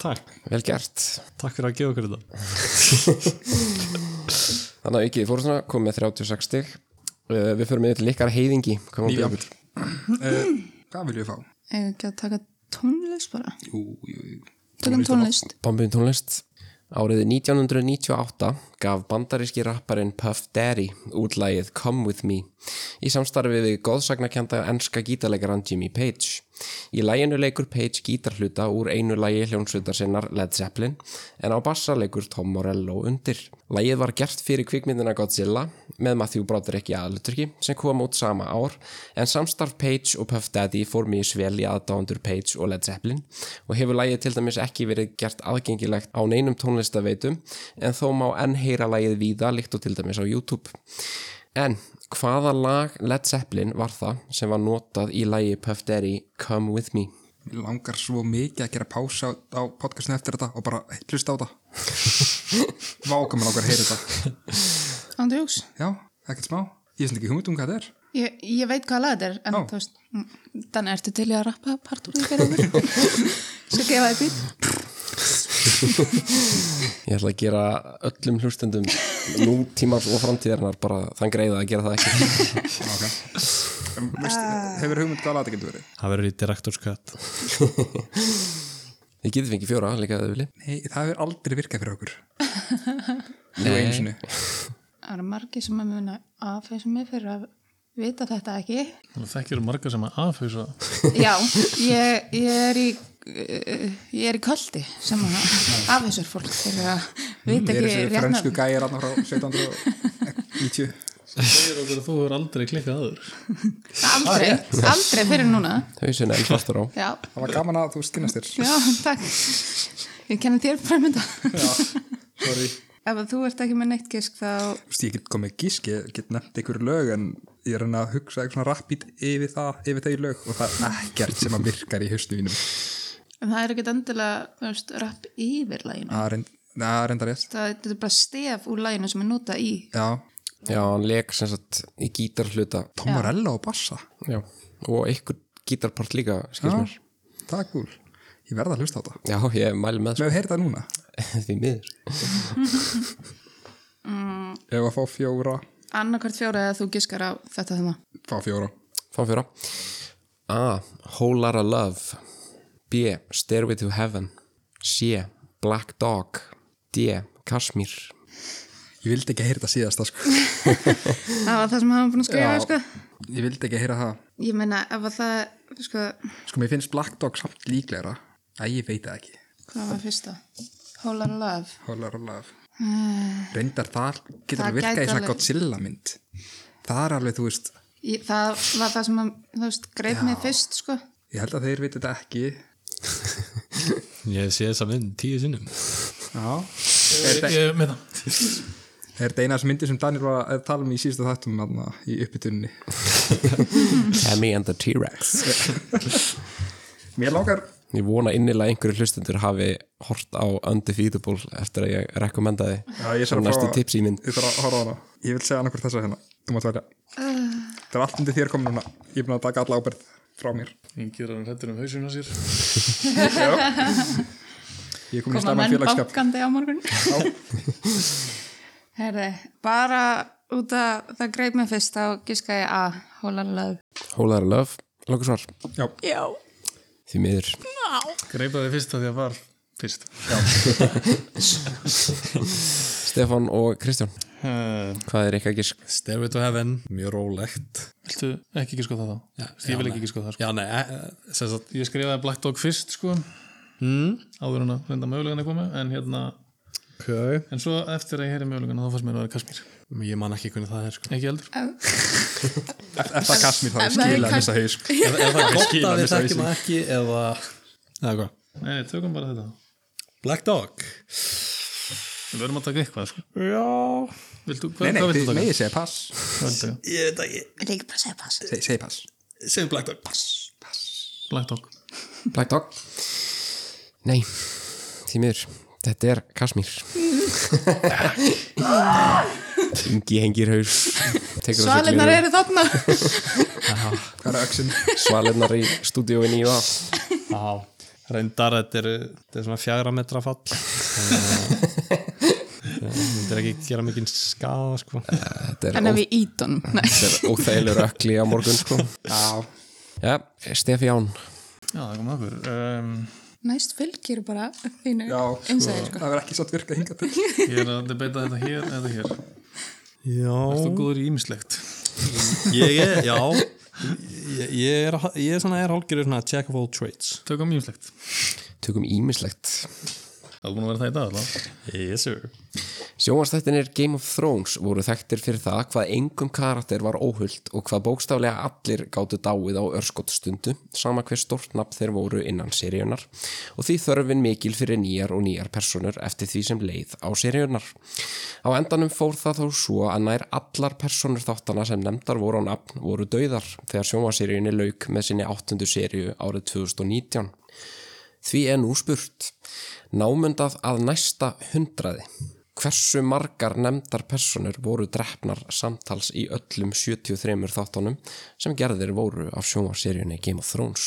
S5: takk
S1: Vel gert.
S5: takk fyrir að gefa okkur þetta
S1: Þannig að aukið fórstuna kom með 36 stig uh, Við förum yfir til ykkar heiðingi Hvað má bjóða ykkur?
S3: Uh, hvað vil ég fá?
S2: eða ekki að taka tónlist bara
S3: Jú, jú, jú.
S2: tökum tónlist
S1: Bambin tónlist Árið 1998 gaf bandaríski rapparinn Puff Daddy út lagið Come With Me í samstarfi við góðsagnakjanda enska gítarleikaran Jimmy Page. Í læginu leikur Page gítarhluta úr einu lægi hljónsveitar sinnar Led Zeppelin en á bassa leikur Tom Morello undir. Lægið var gert fyrir kvikmyndina Godzilla með Matthew Broderick í aðluturki sem kom út sama ár en samstarf Page og Puff Daddy fór mjög svel í aðdáendur Page og Led Zeppelin og hefur lægið til dæmis ekki verið gert aðgengilegt á neinum tónlistaveitum en þó má enn heyra lægið víða líkt og til dæmis á YouTube. En hvaða lag Led Zeppelin var það sem var notað í lægi Puff Daddy Come With Me?
S3: Mér langar svo mikið að gera pása á, á podcastinu eftir þetta og bara hlusta á þetta. Vá, hvað mér langar að heyra þetta.
S2: Andrjós,
S3: Já, ekkert smá. Ég finnst ekki hugmynd um hvað þetta er.
S2: ég, ég veit hvað lag þetta er en
S3: Ó.
S2: þú veist, mm, þannig ertu til í að rappa part úr því fyrir okkur svo gefa þið být
S1: Ég ætla að gera öllum hlustendum nútímar og framtíðarnar bara þann greiða að gera það ekki.
S3: Já, ok. Um, veist, hefur hugmynd hvað þetta getur verið?
S5: það verður í direktorskött
S1: Þið getur fengið fjóra líka að þið vilji.
S3: Nei, það hefur aldrei virkað fyrir okkur. Nú einu sinni.
S2: það eru margir sem að muna að fæsum mig fyrir að vita þetta ekki
S4: Þekkir eru marga sem að afhauðsa
S2: já, ég, ég er í eh, ég er í kvöldi sem að afhersur fólk fyrir að vita
S3: Þeir eru
S2: ekki
S3: þessi frönsku gæjar aðna frá 1790.
S4: Segir okkur að þú hefur aldrei klikkað aður
S3: Ah,
S2: aldrei, aldrei fyrir núna
S1: Hauðsinn enn svartur á.
S2: já,
S3: Það var gaman að þú skinnast þér.
S2: já, takk ég kenni þér fræmynda
S3: Sorry.
S2: ef að þú ert ekki með neitt gisk þá
S3: Þú veist, ég get komið gísk, ég get nefnt einhver lög en ég er að reyna að hugsa eitthvað svona rapid yfir það, yfir þau lög og það er ekkert sem að virkar í haustu mínum.
S2: En það er ekkert endilega þú veist, rapp yfir læginu.
S3: Það er reynd- það er reyndar rétt.
S2: Það er, þetta er bara stef úr læginu sem er nota í.
S3: Já,
S1: Já, hann leik sem sagt í gítarhluta.
S3: Tom Morello og Bassa.
S1: Já. Og einhver gítarpart líka, skils
S3: Ah.
S1: mér.
S3: það er gúl. Ég verða að hlusta á það.
S1: Já, ég mæli með
S3: Mér hefur heyrið það núna.
S1: sko, því miður.
S3: Ef að fá fjóra,
S2: Annarkvært fjóra eða þú giskar á þetta þarna.
S3: fá fjóra.
S1: Fá fjóra. A. Whole Lotta Love. B. Stairway to Heaven. C. Black Dog. D. Kashmir.
S3: Ég vildi ekki að heyra það síðasta, sko.
S2: Það var það sem hann var búin að skrifa,
S3: Já.
S2: sko.
S3: Ég vildi ekki að heyra það.
S2: Ég meina, ef að það, sko,
S3: Sko, mér finnst Black Dog samt líklegra. Æ, ég veit það ekki.
S2: hvað var fyrsta? Whole lot of love
S3: Hólar og laf Reyndar þar getur
S2: Mm. Það
S3: það virkað
S2: gæti
S3: í svona
S2: alveg-
S3: Godzilla mynd Það er alveg, þú veist
S2: Ég, það var það sem að, þú veist, greip mig fyrst, sko.
S3: Ég held að þeir viti þetta ekki
S5: Ég sé þess að mynd tíu sinnum
S3: Já
S4: Ég, ég, með það
S3: Er þetta eina af þessum myndir sem Daniel var að tala um í síðustu þáttum þarna, í uppbytunni
S1: Emmy E and the T-Rex
S3: Mér langar
S1: Ég vona innilega einhverju hlustendur hafi hort á Undefeatable eftir að ég rekomendaði
S3: Já, ég
S1: Sem
S3: þarf að
S1: næstu
S3: prófa-
S1: tips í mynd
S3: Ég þarf að horfa á hana Ég vil segja annarkvort þessa hérna Þú mátt velja
S2: Ah.
S3: Það er allt undir þér komin núna Ég er búin að taka alla ábyrð frá mér
S4: Ég gera hann hrettur um hausinu á sér
S3: Ég er komin
S2: Koma
S3: í slæman
S2: menn
S3: félagsskap
S2: bankandi á morgun. Herði, bara út að það greip mig fyrst á gíska ég að hóla lög.
S1: Hólaðar löf, langur svar
S3: Já,
S2: Já.
S1: Því miður
S4: Greipa þig fyrst að því að var fyrst
S1: Stefán og Kristján,
S4: uh,
S1: hvað er eitthvað gísk?
S5: Stairway to Heaven, mjög rólegt
S4: Viltu ekki ekki skoða það þá?
S5: já,
S4: ég vil
S5: nei.
S4: ekki ekki skoða það sko.
S5: Já, nei, e- e- sem sagt
S4: Ég skrifaði Black Dog fyrst sko
S5: Hmm?
S4: Áður hann að reynda mögulegan að koma En hérna
S5: okay.
S4: En svo eftir að ég heyri mögulegan þá fannst mér að vera Kasmír
S5: Ég man ekki hvernig það er sko.
S4: Ekki eldur
S3: eftir að Kasmir það
S2: Ef það er
S3: skilja að
S2: Kas-
S3: missa hausk
S5: Ef ef það er gott
S3: skil að
S5: að við
S3: missa
S5: þekkjum það ekki eða Eða hvað?
S4: Nei, tökum bara þetta
S5: Black Dog
S4: Við verðum að taka eitthvað sko
S5: Já
S4: Viltu, hva,
S3: Nei, nei,
S4: hvað viltu
S3: þið
S4: taka?
S3: megið segja pass
S4: Hvað viltu taka?
S5: Ég veit ekki,
S2: Líka bara segja pass.
S3: Seg, Segja pass
S5: segjum Black Dog
S4: Black Dog
S1: Black Dog? Nei, því miður Þetta er Kasmír Ingi hengir haus tekur á sig
S2: Svalinnar
S1: gleraugun.
S2: eru þarna.
S3: Hvað er öxin?
S1: Svalirnar í stúdíóin í og
S5: Já Reyndar, þetta er, þetta er svona fjagra metra fall Þannig að Það myndir ekki gera mikinn skaða sko.
S1: Þetta er
S2: Þannig að við ítunum. Nei.
S1: óþægilegur ökli á morgun sko.
S3: Já
S1: Já, Stefi Ján
S4: Já, það kom að okkur um,
S2: Næst fylgir bara þínu
S3: Já,
S2: einsæðir, sko.
S3: það verður ekki satt virka hingað til
S4: Ég er að debata þetta hér eða hér
S5: Já
S4: Þú góður í ímislegt
S5: Ég er, já Ég, ég er, ég er svona er hálfgerður svona jack of all trades
S4: Tökum ímislegt
S1: Tökum ímislegt
S4: Það er búin að vera það í dag allavega
S5: Yes sir
S1: Sjónvastættinir Game of Thrones voru þekktir fyrir það hvað engum karakter var óhullt og hvað bókstaflega allir gáttu dáið á örskott stundu, sama hver stort nafn þeir voru innan seríunar og því þörfin mikil fyrir nýjar og nýjar personur eftir því sem leið á seríunar. Á endanum fór það þó svo að nær allar personur þáttana sem nefndar voru á nafn voru dauðar þegar sjónvaseríunni lauk með sinni áttundu seríu árið 2019. Því er nú spurt, námundað að næsta hundraði. Hversu margar nefndar personur voru drefnar samtals í öllum 73 þáttunum sem gerðir voru af sjónvarseríunni Game of Thrones?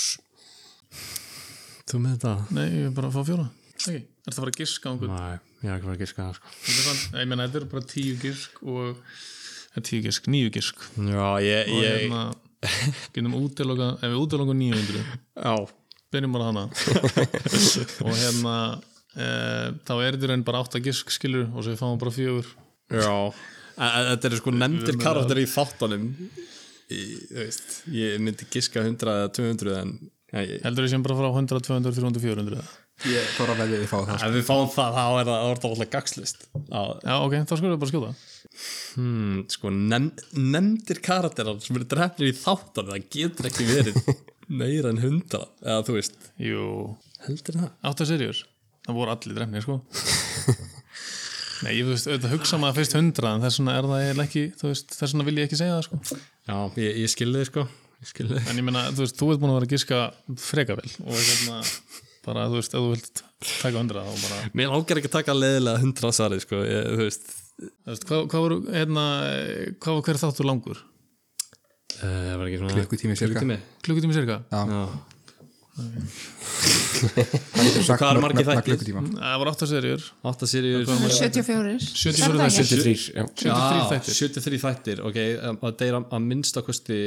S5: Þú með þetta?
S4: Nei, ég er bara að fá fjóra Ekki, er það að fara að giska á einhvern
S5: Næ, ég er ekki verið að giska það sko.
S4: Þetta er samt- ég meina þetta eru bara tíu gisk og eh, tíu gisk, níu gisk og
S5: Já, ég, ég
S4: hérna getum útiloka, ef við útiloka 900
S5: Já,
S4: byrjum bara hana og hérna e, þá er þetta í raun bara 8 gisk skilur og svo við fáum bara fjögur
S5: já En- en Þetta eru sko nefndir karakter í þáttunum Í- Þú veist Ég myndi giska 100 eða 200 en ja, ég,
S4: heldur þessum bara frá 100, 200, 300, 400
S3: Ég fór að veðja við fá það
S5: Ef við fáum það, þá er það orðið alltaf gagslist Já,
S4: Já, ok, þá skulum við bara skjóta
S5: hmm, sko, nefn, nefndir karakterar sem eru drefnir í þáttunum það getur ekki verið meira en 100 eða þú veist
S4: Jú,
S5: Heldur það?
S4: 8 serjur það voru allir drefnir sko Nei, ég þú veist, auðvitað hugsa maður fyrst 100 en þess vegna er það eiginlega ekki, þú veist, þess vegna vil ég ekki segja það sko
S5: Já, ég, ég skilði þið sko Ég skilði þið
S4: En ég meina, þú veist, þú ert búin að vera að giska freka vel og hérna, bara, þú veist, ef þú vilt taka hundra og bara,
S5: Mér ágæri ekki að taka leðilega 100 sari sko ég, Þú veist
S4: þú veist, hvað, hvað voru, hérna, hvað var hver þáttur langur?
S5: Það var ekki svona
S3: Klukkutími sirka.
S5: Klukkutími
S4: Klukkutími cirka?
S5: Já
S3: Hvað
S5: eru margir þættir?
S4: Það voru 8 serjur,
S5: 8 sirjur
S2: 74.
S4: 74
S2: Er það ekki?
S1: 73, já.
S4: 73 þættir,
S5: 73 þættir Ok, um, og það er að- að minnsta kosti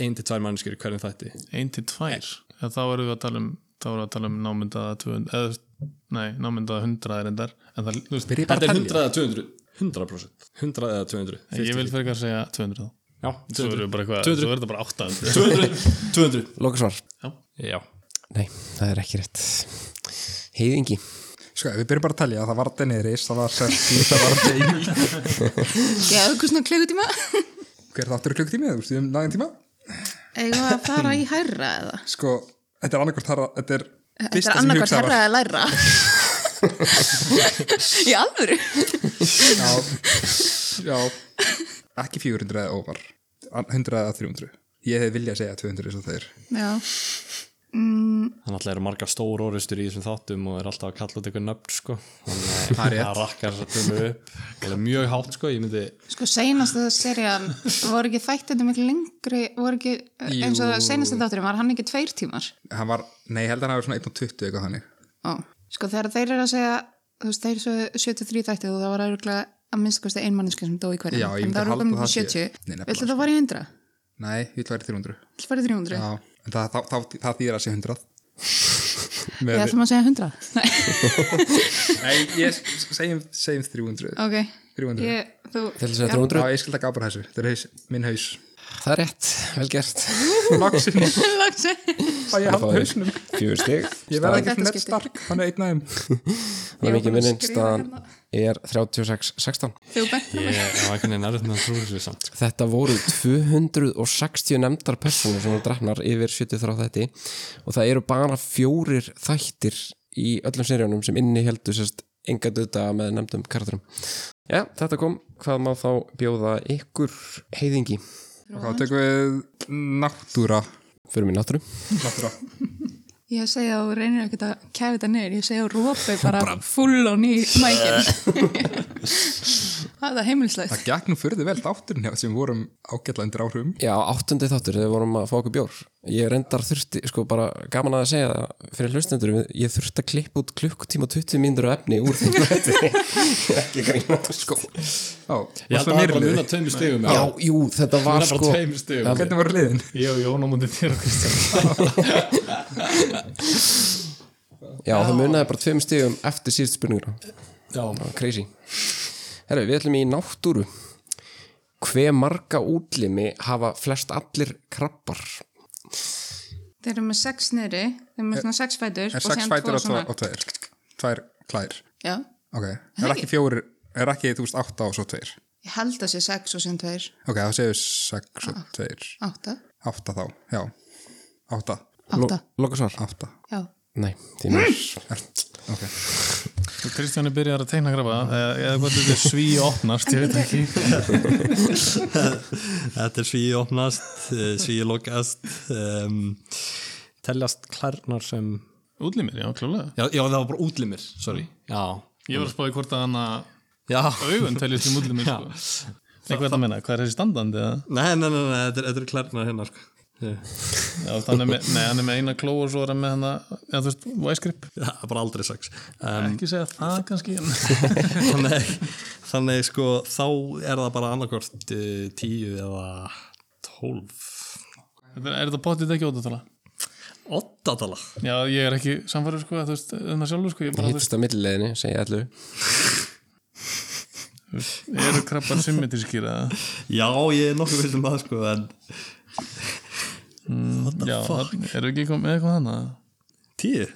S5: 1-2 mannskjur hverjum þætti
S4: 1 til 2 ja, þá voru við að tala um, þá voru við að tala um námyndaða 200, eða, þú veist, nei, námyndaða 100 er endar, en það, þú veist,
S3: Byrja bara
S5: Þetta
S3: að
S5: er
S3: tellja
S5: 100 eða 200 100% 100 eða 200
S4: ég vil frekar segja 200 þá.
S5: Já,
S4: Svo eru
S5: 200
S4: við bara eitthvað,
S5: 200.
S4: svo verður það bara 800
S5: 200 200
S1: Loka svar.
S5: Já
S1: Nei, það er ekki rétt. Heiðingi.
S3: Sko, við byrjum bara að talja að það var Daenerys, það var Cersei, það var Jamie
S2: Geðu eitthvað svona klukkutíma
S3: Hver þáttur er klukkutími? Þú veist, við um nægum tíma?
S2: Eigum við að fara í hærra eða?
S3: Sko, þetta er annarkvort herra, þetta er
S2: Þetta er annarkvært hærra eða læra Í alvöru
S3: Já, já, ekki 400 eða óvar, 100 eða 300. Ég hefði viljað segja 200 eins og þeir.
S2: Já,
S5: Þannig alltaf eru margar stór orðustur í þessum þáttum og er alltaf að kalla út eitthvað nöfn sko. Þannig
S3: Það er
S5: að
S3: rétt.
S5: það rakkar þetta upp. Það er mjög hátt sko, ég myndi
S2: sko seinasta serían voru ekki þættandi miklu lengri voru ekki, eins og
S3: Jú.
S2: seinasta þátturinn var hann ekki tveir tímar
S3: Hann var, nei, ég held að hann hafi svona 1.20 eitthvað þannig.
S2: Ó. Sko þegar þeir eru að segja þú veist, þeir sögðu 73 þætti og það var örugglega að minnst kosti ein manneski sem dó í hverjum
S3: Já, ég myndi
S2: það
S3: halda
S2: voru komin
S3: það
S2: upp í
S3: sé-
S2: 70
S3: Nei, nefnilega,
S2: Viltu það fara í 100?
S3: Nei, ég vil væri 300.
S2: Viltu fara í 300?
S3: Já, en það, það, það, það þýðir að sé 100.
S2: Við
S3: Með,
S2: ætlum að segja 100 Nei,
S3: nei, ég s- segjum, segjum 300.
S2: ok
S3: 300.
S2: Ég, þú,
S1: Til þess að
S2: Já.
S1: 300
S3: Já, ég skilta gábra þessu. Þetta er haus, minn haus.
S1: Það er rétt, vel gert
S3: Loksin,
S2: Laxi.
S3: það ég hafði hausnum.
S1: Fjögur stig
S3: Ég verði
S2: Þetta
S3: ekki svona
S2: skipti.
S3: stark, hann er einn aðeim.
S1: Það er
S2: Ég var
S1: mikið
S2: búin að
S1: minnin,
S2: skrifa
S1: staðan
S2: hérna.
S1: er 36-16
S2: Þú bent
S5: Ég það var einhvern veginn erfitt með að trúi þessu samt. sko.
S1: Þetta voru 260 nefndar personur sem voru drefnar yfir 73 þætti og það eru bara fjórir þættir í öllum seríunum sem inni heldur sérst enga döta með nefndum karakterum. Já, þetta kom. Hvað má þá bjóða ykkur heiðingi?
S3: Þá tökum við náttúra.
S1: Fyrir mér náttúru.
S3: Náttúra.
S2: Ég segja og reynir ekkert að kæfa þetta niður, ég segja og rópi bara full on í mækinn. það er heimilislegt.
S3: Það gekk nú fyrðu vel þátturinn hjá- sem vorum ágætla undir áhrifum.
S1: Já, áttundi þáttur þegar við vorum að fá okkur bjór. Ég reyndar þurfti, sko bara gaman að segja það fyrir hlustendur, ég þurfti að klippa út klukkutíma og 20 mínútur af efni úr þeim þætti. Ekki grínast.
S3: Sko. Ó, varstu
S5: Ég held að það
S3: meira
S5: var
S3: liðið?
S5: að muna tveimur stigum.
S1: Já, jú, þetta
S5: það
S1: var
S5: var
S1: sko
S5: bara tveimur stigum.
S3: Hvernig voru liðin?
S5: Ég og Jón á mútið þér og Kristján.
S1: Já, það munaði bara tveim stigum eftir síðust spurninguna
S5: Já,
S1: Crazy Herru, við ætlum í náttúru Hve marga útlimi hafa flest allir krabbar?
S2: Þeir eru með sex niðri, þeir eru með svona sex fætur
S3: Er eh, sex fætur og, tvo, og tveir? Tvær klær.
S2: Já,
S3: Ok. Er ekki fjórir, er ekki þú veist átta og svo tveir?
S2: ég held að sé sex og sem tveir,
S3: Ok, þá séu sex og tveir.
S2: átta,
S3: Átta þá, já. Átta.
S2: átta,
S1: Loka svar
S3: Átta.
S2: já.
S1: Nei, því mér
S3: Er, ok.
S4: Kristján er byrjar að teikna grafa eða eða hvað þetta er sví opnast ég veit ekki
S5: Þetta er svíi opnast, eh, svíi lokast, um, teljast klærnar sem...
S4: útlimir, já klálega
S5: Já, já, það var bara útlimir, sorry. Já,
S4: ég var að spáði hvort að hann að
S5: já.
S4: augun teljast í útlimir sko. eitthvað þetta meina, hvað er þessi standandi eða?
S5: Nei, nei, nei, nei, þetta er, þetta er klærnar hérna, sko. Já,
S4: Já, þannig með, nei, hann er með eina kló og svo er hann með hann að, eða þú veist, væsgrip
S5: það er bara aldrei sex. Um,
S4: ekki segja það kannski en-
S5: þannig, þannig, sko, þá er það bara annarkort uh, tíu eða tólf.
S4: Þetta er, er þetta potið ekki óttala?
S5: Óttatala.
S4: Já, ég er ekki samfæður sko, þú veist, um það sjálfur sko, ég bara, þú veist,
S1: Hittist á millileginni, segja allu
S4: eru krabbar symmetriskir eða?
S5: Já, ég er nokkuð veist um það, sko, en
S4: Já, það- eru ekki kom, með eitthvað þannig?
S5: tíu,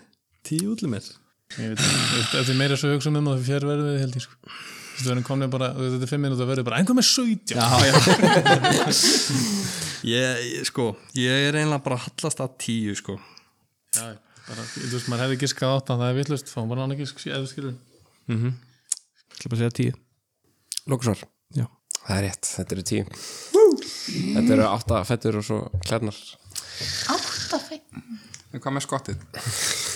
S5: tíu útlimir.
S4: Ég veit, ekki, þú veist, ef því meira svo hugsa um það, því fjær verðum við held ég sko. Þú veist, við erum komnið bara, þú veist, þetta er fimm minúti að verðum bara, einhver með 17
S5: Já, já ég, ég, sko, ég er einlega bara að hallast að tíu, sko
S4: Já, bara, þú veist, maður hefði giskað átta, það er vittlust, fáum bara annað gisk, eða skilur.
S5: Það er bara að segja tíu
S1: Loka svar
S5: Já.
S1: Það er rétt, þetta eru tíu Þetta eru átta fettur og svo klærnar
S2: Átta fætur,
S3: En hvað með skottið?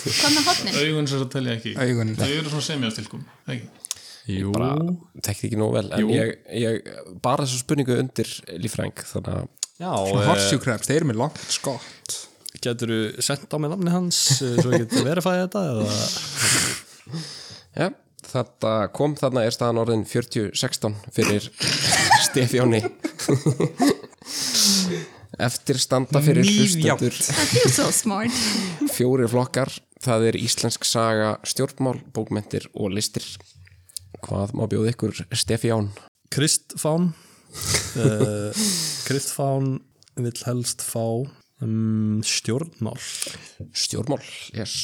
S2: hvað með hotnin?
S4: Augun sér að telja ekki.
S3: Augun.
S4: Þau eru svona semjastilkum, ekki?
S5: Jú,
S1: bara tekti ekki nóg vel en ég, ég bara þessu spurningu undir líffræng þannig að
S5: já eh,
S3: Horsjúkrebs, þeir eru með langt skott.
S5: Getur þú sendt á mig namni hans eh, svo ég getur verifæði þetta eða...
S1: Já, þetta kom þarna er staðan orðin 40-16 fyrir Stefjóni Eftir standa fyrir hlustendur
S2: I feel so smart.
S1: fjórir flokkar það er íslensk saga, stjórnmál, bókmentir og listir Hvað má bjóða ykkur Stefjón?
S5: Kristfán uh, Kristfán vill helst fá um, stjórnmál
S1: Stjórnmál, yes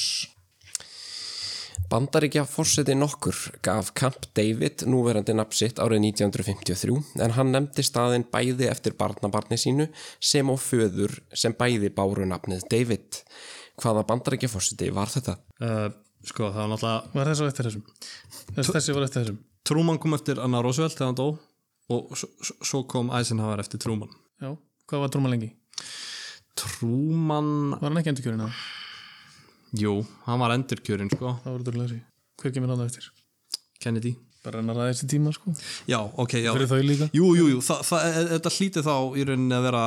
S1: Bandaríkja fórseti nokkur gaf Camp David núverandi nafn sitt árið 1953 en hann nefndi staðin bæði eftir barnabarni sínu sem og föður sem bæði báru nafnið David. Hvaða bandaríkja fórseti var þetta?
S5: uh, sko það var náttúrulega
S4: Var þessi á eftir þessum? Þessi, þessi var eftir þessum
S5: Trúman kom eftir Anna Roosevelt þegar hann dó og s- s- svo kom Eisenhower eftir Trúman
S4: Já, hvað var Trúman lengi?
S5: Trúman,
S4: Var hann ekki endurkjörinn að?
S5: jú, hann var endurkjörinn sko,
S4: Það voru dörlega þessi Hver kemur hann á eftir?
S5: Kennedy
S4: Bara hann að ræða þessi tíma sko
S5: já, ok, já
S4: Fyrir þau líka
S5: Jú, jú, jú, þa þa e- þetta hlýti þá í rauninni að vera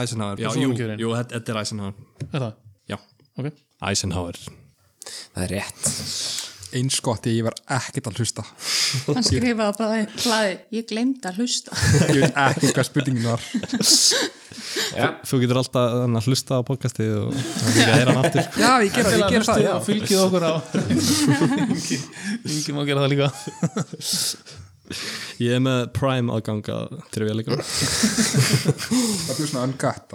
S5: Eisenhower
S4: Já,
S5: jú,
S4: jú, kjörinn.
S5: jú, þetta þetta er Eisenhower
S4: Er það?
S5: Já,
S4: Ok
S5: Eisenhower
S1: Það er rétt.
S3: eins gott ég var ekkert að hlusta
S2: Hann skrifaði bara hlaði, ég glemd að hlusta.
S3: ég veit ekki hvað spurningin var
S5: Þú getur alltaf þannig, að hlusta á podcastið og það er hann aftur
S3: já, ég gera það, ég gera það, já
S4: Fylgið okkur á Ingi, Ingi má gera það líka
S5: Ég er með Prime aðganga til við leikur
S3: það bjóð svona uncut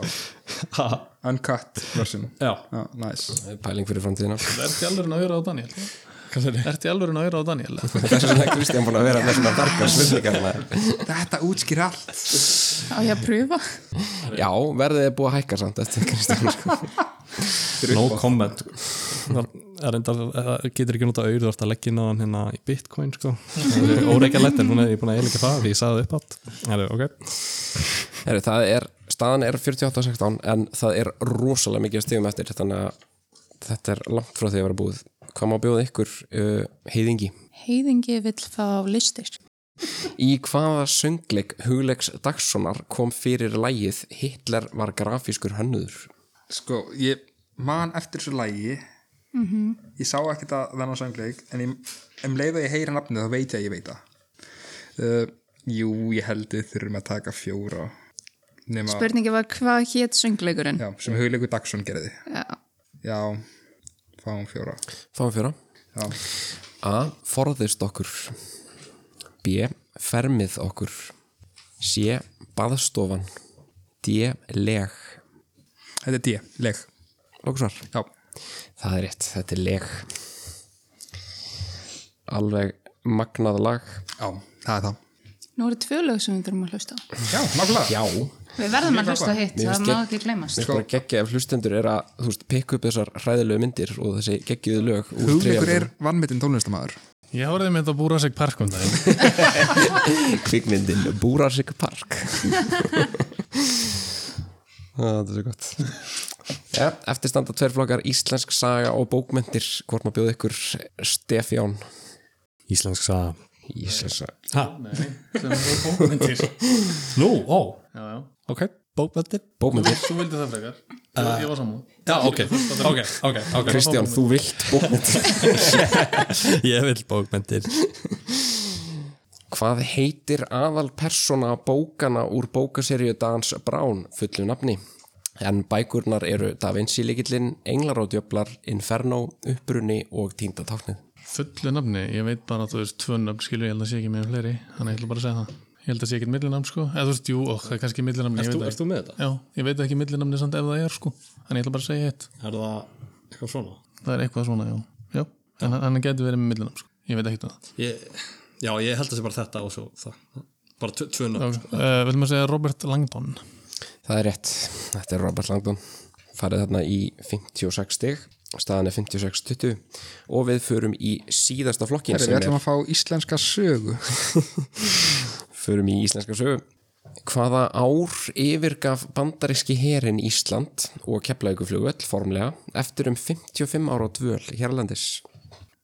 S3: á uncut version
S5: Já,
S3: já, nice
S1: Pæling fyrir framtíðina.
S4: Ertu í alvöru að auðra á Daniel? Ertu í alvöru að auðra á Daniel?
S1: Þess vegna er Kristján búin að vera með svona darkar hérna. spurningarna.
S3: þetta útskýr allt
S2: Á ég að pröfa.
S1: Já, verðið er búið að hækka samt eftir Kristján. sko.
S5: no comment sko. Það er reyndar, það getur ekki notað auður þú ert að leggja inn á hann hérna í bitcoin sko. Það er óreikjalegt en hún er ég búin að eiginlega það því ég sagði það upp átt Það er ok
S1: Heri, það er, staðan er 48-16 en það er rosalega mikið stigum eftir þannig að þetta er langt frá því að vera búið. Hvað má bjóða ykkur uh, heiðingi?
S2: Heiðingi vill fá listir.
S1: Í hvaða söngleik Hugleiks Dagssonar kom fyrir lægið Hitler var grafískur hönnuður?
S3: sko, ég man eftir þessu lægi ég sá ekkert að þennan söngleik en ég, um leið að ég heyra nafnið þá veit ég að ég veit það uh, jú, ég held við þurfum að taka fjóra nema,
S2: Spurningi var hvað hétt söngleikurinn?
S3: já, sem hugleikur Dagsson gerði
S2: Já.
S3: já, fáum fjóra
S1: Fáum fjóra.
S3: já,
S1: A. Forðist okkur B. Fermið okkur C. Baðstofan D. Leg
S3: þetta er D, leg
S1: Lóksvar.
S3: já,
S1: Það er rétt, þetta er leg Alveg magnað lag
S3: já, það er það
S2: Nú eru tvö lög sem við þurfum að hlusta á.
S3: já, nákvæmlega
S1: Já
S2: Við verðum að hlusta á hitt, það má ekki glemast.
S1: Bara geggja ef hlustendur er að þú veist, pikka upp þessar hræðilegu myndir og þessi geggjuðu lög úr
S3: hugleikur
S1: þriðja-
S3: er vannmyndin tónlistamæður
S4: Ég horfði með þetta að búra sig parkum um daginn
S1: kvikmyndin Búrasik Park Það Ah, er svo gott ja, Eftir standa tveir flokkar Íslensk saga og bókmyndir Hvort maður bjóð ykkur Stefján
S5: Íslensk saga
S1: Íslensk saga
S5: Ha,
S4: sem er bókmyndir
S5: nú, ó,
S4: Já, já
S5: ok, bókmyndir
S1: Bókmyndir
S4: Þú vildi það frekar Ég, ég var sammála
S5: Já, ok, ok, ok, ok
S1: Kristján, þú vilt bókmyndir
S5: Ég vil bókmyndir
S1: Hvað heitir aðal persóna bókana úr bókaseríu Dans Brown fullu nafni? En bækurnar eru Da Vinci líkillinn, Englar og djöflar, Inferno, Upprunni og Tíndatáknið.
S4: Fullu nafni, ég veit bara að þú veist tvö nafn skilur, ég held að sé ekki með fleiri Þannig ég ætla bara að segja það Ég held að sé ekki millinamn sko Eða þú veist, jú, ó, það er kannski millinamni, ég veit það ekki
S5: þú með þetta?
S4: Já, ég veit ekki millinamni samt ef það er sko Þannig ég ætla bara að segja hitt
S5: Er það eitthvað svona?
S4: Það er eitthvað svona, já Já, en hann, hann getur verið með millinamn sko Ég veit ekki um það
S5: Ég, já, ég held að sé bara þetta og svo það Bara tvö- tvö nöfn
S4: okay. uh, Viljum að segja Robert Langdon
S1: Það er rétt, þetta er Robert Langdon farið þarna í 56 stig staðan er 56-20 og við förum í síðasta flokkin
S3: við
S1: sem
S3: ætlum að fá íslenska sögu
S1: er förum í íslenska sögu Hvaða ár yfirgaf bandaríski herin Ísland og keplauguflugvöll formlega eftir um 55 ára á dvöl hérlandis?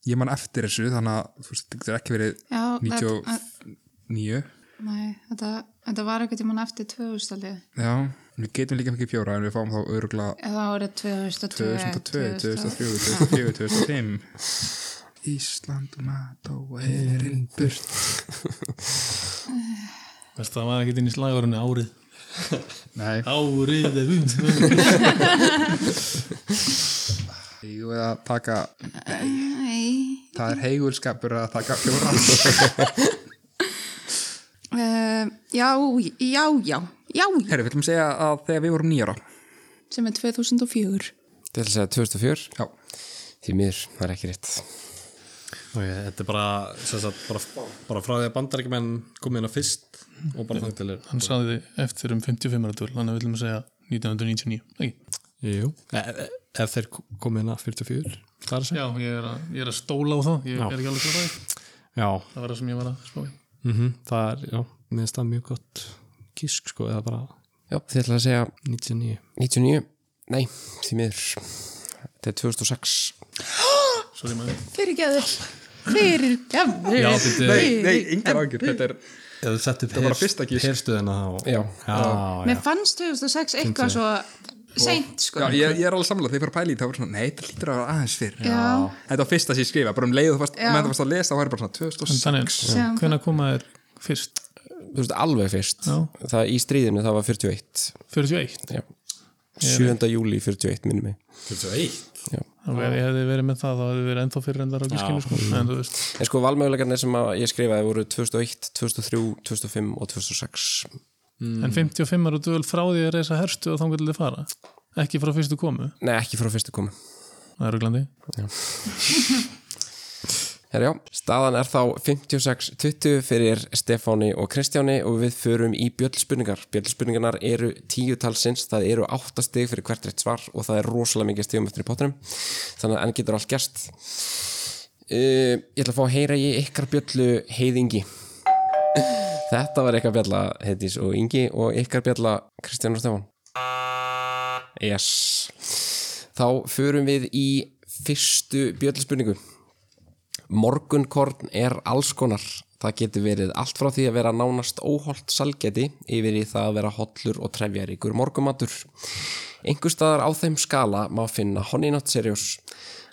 S3: ég man eftir þessu þannig að þú veist, þetta getur ekki verið
S2: Já, þetta-
S3: 99
S2: Nei, þetta, þetta var eitthvað tímann eftir 2000 aldrei.
S3: já, við getum líka mikið fjóra en við fáum þá örugla
S2: Eða árið 2002.
S3: 2002, 2004, 2004, 2005 Ísland og mat og erinn burt
S4: Veist, það var ekki inn í slagurinu árið
S3: Nei,
S4: Árið er við
S3: ég veið að taka
S2: Nei,
S3: það er heigulskapur að taka fjóra
S2: uh, já, já, já, já, já,
S3: Herri, við ætlum segja að þegar við vorum nýjara
S2: sem er 2004.
S1: Þetta er að segja 2004
S3: Já,
S1: því miður, það er ekki rétt
S5: Okay, þetta er bara, sem sagt, bara, bara frá því að bandarækjumenn komið inn á fyrst og bara þannig til
S4: hann saði þið eftir um 55 ára dúl þannig að við viljum segja 1999 ekki?
S5: Jú, e e- ef þeir komið inn á 44 Það er að segja
S4: Já, ég er, að, ég er að stóla á það ég
S5: Já.
S4: er ekki alveg kláraði
S5: Já,
S4: það var það sem ég var að spá í
S5: mm það er, já, mér finnst það mjög gott kísk sko, eða bara
S1: Já, þið ætlaði að segja
S5: 99
S1: 99 Nei, því miður Þetta er 2006
S4: Sorry, maður.
S2: Fyrir geður. Fyrir geður.
S5: Já, byrju.
S3: Nei, nei, engar ágjur Þetta er,
S5: Eða þú sett upp
S3: var bara fyrsta kísk.
S5: herstöðina þá
S1: Já.
S5: já,
S2: Mér fannst 2006 eitthvað svo seint,
S3: já,
S2: sko.
S3: ég, ég er alveg samlega, þegar ég fyrir að pæla í því, þá var svona, nei, þetta lítur að vera aðeins fyrr
S2: Já.
S3: Þetta var fyrsta sem ég skrifa, bara um leiðu fast,
S2: Já.
S3: með það fast að lesa, þá var ég bara svona 2006
S4: Þannig,
S2: Sem-
S4: hvenær koma þér fyrst?
S1: Þú veist, alveg fyrst
S4: Já.
S1: Það í stríðinu, það var 41
S4: 41?
S1: Já 7. júli 41 minnum mig
S5: 41
S1: Já.
S4: Ef ég hefði verið með það, þá hefði verið ennþá fyrir en það er ekki skilu, sko. En þú veist,
S1: En sko valmögulegarnir sem að ég skrifaði voru 2001, 2003, 2005 og 2006
S4: en 55 eru duðul frá því að reysa herstu og þangar til þið fara. Ekki frá fyrstu komu,
S1: Nei, ekki frá fyrstu komu
S4: það eru glandi.
S1: Herjá, staðan er þá 56-20 fyrir Stefáni og Kristjáni og við förum í bjöllspurningar. Bjöllspurningarnar eru tíu talsins, það eru átta stig fyrir hvert rétt svar og það er rosalega mikið stigum eftir í pottinum, þannig að enn getur allt gerst. Uh, ég ætla að fá að heyra í ykkar bjöllu heiðingi. Þetta var ykkar bjalla Heiðís og Ingi og ykkar bjalla Kristján og Stefán. Yes. Þá förum við í fyrstu bjöllspurningu. Morgunkorn er alls konar. Það getur verið allt frá því að vera nánast óholt salgeti yfir í það að vera hollur og trefjaríkur morgumatur. Engu staðar á þeim skala má finna Honey Nut Serious.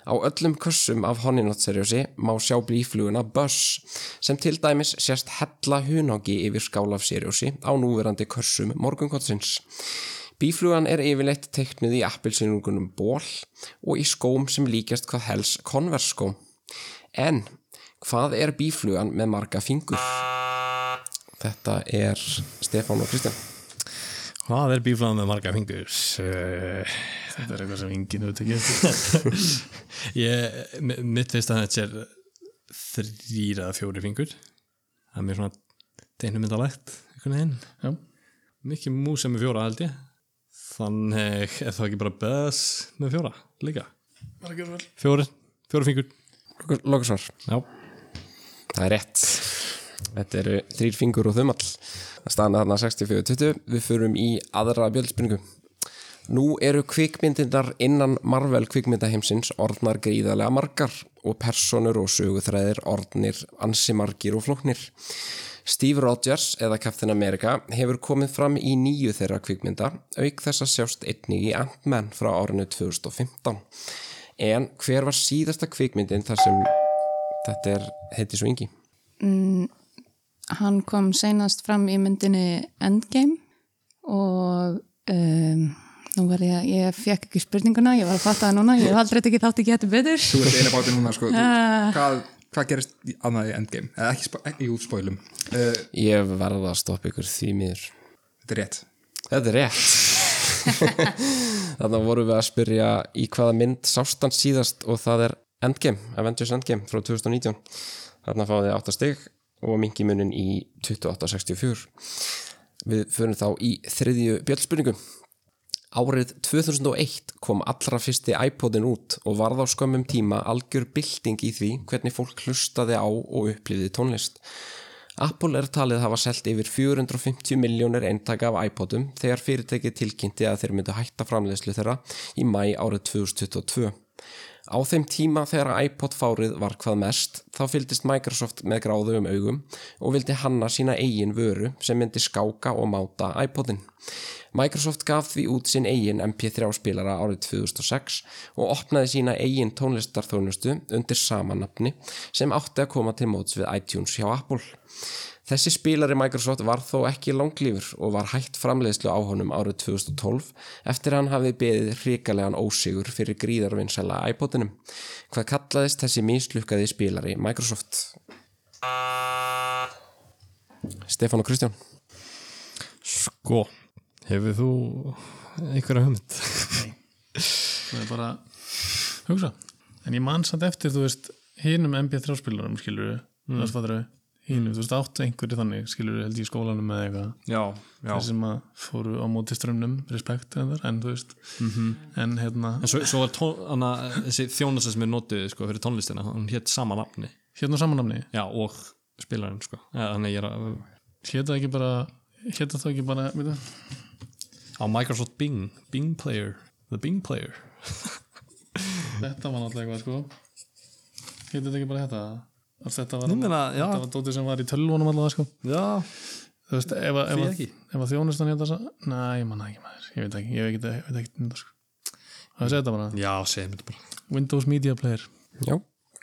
S1: Á öllum kössum af Honey Nut Seriousi má sjá brífluguna Buzz sem til dæmis sérst hella hunági yfir skálaf Seriousi á núverandi kössum morgunkornsins. Bíflugan er yfirleitt teiknuð í appilsinungunum ból og í skóm sem líkjast hvað helst konversskóm. En hvað er bíflugan með marga fingur? Þetta er Stefán og Kristján.
S5: Hvað er bíflaðan með marga fingur? Uh,
S4: Þetta er eitthvað sem enginn hefur tekið eftir.
S5: ég, mi- mitt finnst að þetta er þrýra eða fjóri fingur það er mér svona teinumyndalegt einhvern veginn
S4: Já,
S5: mikið mús sem er með fjóra held ég þannig er það ekki bara Buzz með fjóra líka
S4: bara gerur vel.
S5: fjóri, fjóri fingur
S1: Lókasvar.
S5: já,
S1: Það er rétt. Þetta eru þrýr fingur og þumall. Það staðan þarna 64-20. Við förum í aðra bjöldspurningu. Nú eru kvikmyndirnar innan Marvel kvikmyndaheimsins orðnar gríðarlega margar og personur og söguþræðir orðnir ansi margir og flóknir. Steve Rogers eða Captain America hefur komið fram í nýju þeirra kvikmynda auk þess að sjást einnig í Ant-Man frá árinu 2015. En hver var síðasta kvikmyndin þar sem þetta er heiti svo yngi?
S2: Hann kom seinast fram í myndinni Endgame og um, nú verði ég, ég fekk ekki spurninguna, ég var að fatta það núna, ég hef aldrei ekki þátt ekki þetta betur.
S3: Þú ert eina báti núna, sko þú,
S2: Ah.
S3: hvað, hvað gerist í- annað í endgame? Eða ekki, spo- ekki jú, spoilum uh,
S1: Ég verða að stoppa ykkur því miður.
S3: Þetta er rétt
S1: Þetta er rétt. Þannig vorum við að spyrja í hvaða mynd sástan síðast og það er Endgame, Avengers Endgame frá 2019. Þannig fáið þið 8 stygg og mingi munin í 2864. Við förum þá í þriðju bjöldspurningu. Árið 2001 kom allra fyrsti iPodin út og varð á skömmum tíma algjör bylting í því hvernig fólk hlustaði á og upplifði tónlist. Apple er talið hafa selt yfir 450 miljónir eintaka af iPodum þegar fyrirtækið tilkynnti að þeir myndu hætta framleiðslu þeirra í mæ árið 2022. Á þeim tíma þegar iPod fárið var hvað mest þá fylgdist Microsoft með gráðugum augum og vildi hanna sína eigin vöru sem myndi skáka og máta iPodin. Microsoft gaf því út sinn eigin MP3 spilara árið 2006 og opnaði sína eigin tónlistarþjónustu undir sama nafni sem átti að koma til móts við iTunes hjá Apple. Þessi spilari Microsoft var þó ekki langlýfur og var hægt framleiðslu á honum árið 2012 eftir að hann hafði beðið hrikalegan ósigur fyrir gríðarvinnsæla iPodinum. Hvað kallaðist þessi mislukkaði spilari Microsoft? Stefán og Kristján
S5: sko hefur þú einhverja hugmynd?
S4: Það er bara hugsa. En ég man samt eftir, þú veist, hinum MB3 spilarum skilur við, mm. hinum, þú veist, átt einhverju þannig skilur við held ég í skólanum eða eitthvað
S5: já, já.
S4: þeir sem að fóru á móti strömmnum respekt en þar, en þú veist en hérna,
S5: Mhm. En svo, svo var tón, hana, þessi þjónusta sem við notuði sko, fyrir tónlistina, hann hétt sama nafni
S4: hérna samanamni
S5: já, og spilarinn sko. ja, þannig ég er að,
S4: hérna það ekki bara hérna það ekki bara, veitum
S5: á Microsoft Bing, Bing Player The Bing Player
S4: Þetta var náttúrulega eitthvað sko Heitir þetta ekki bara þetta? Allt þetta var,
S5: Ég meina, já.
S4: þetta var dótið sem var í tölvunum allavega sko
S5: já,
S4: Þú veist, ef, að- ef,
S5: Því
S4: að-
S5: ekki.
S4: ef að þjónustan hérna sa... Nei, ég manna ekki maður, ég veit ekki Ég veit ekki, ég veit ekki um þetta sko Það er þetta bara,
S5: já, segjum þetta bara
S4: Windows Media Player
S1: Já,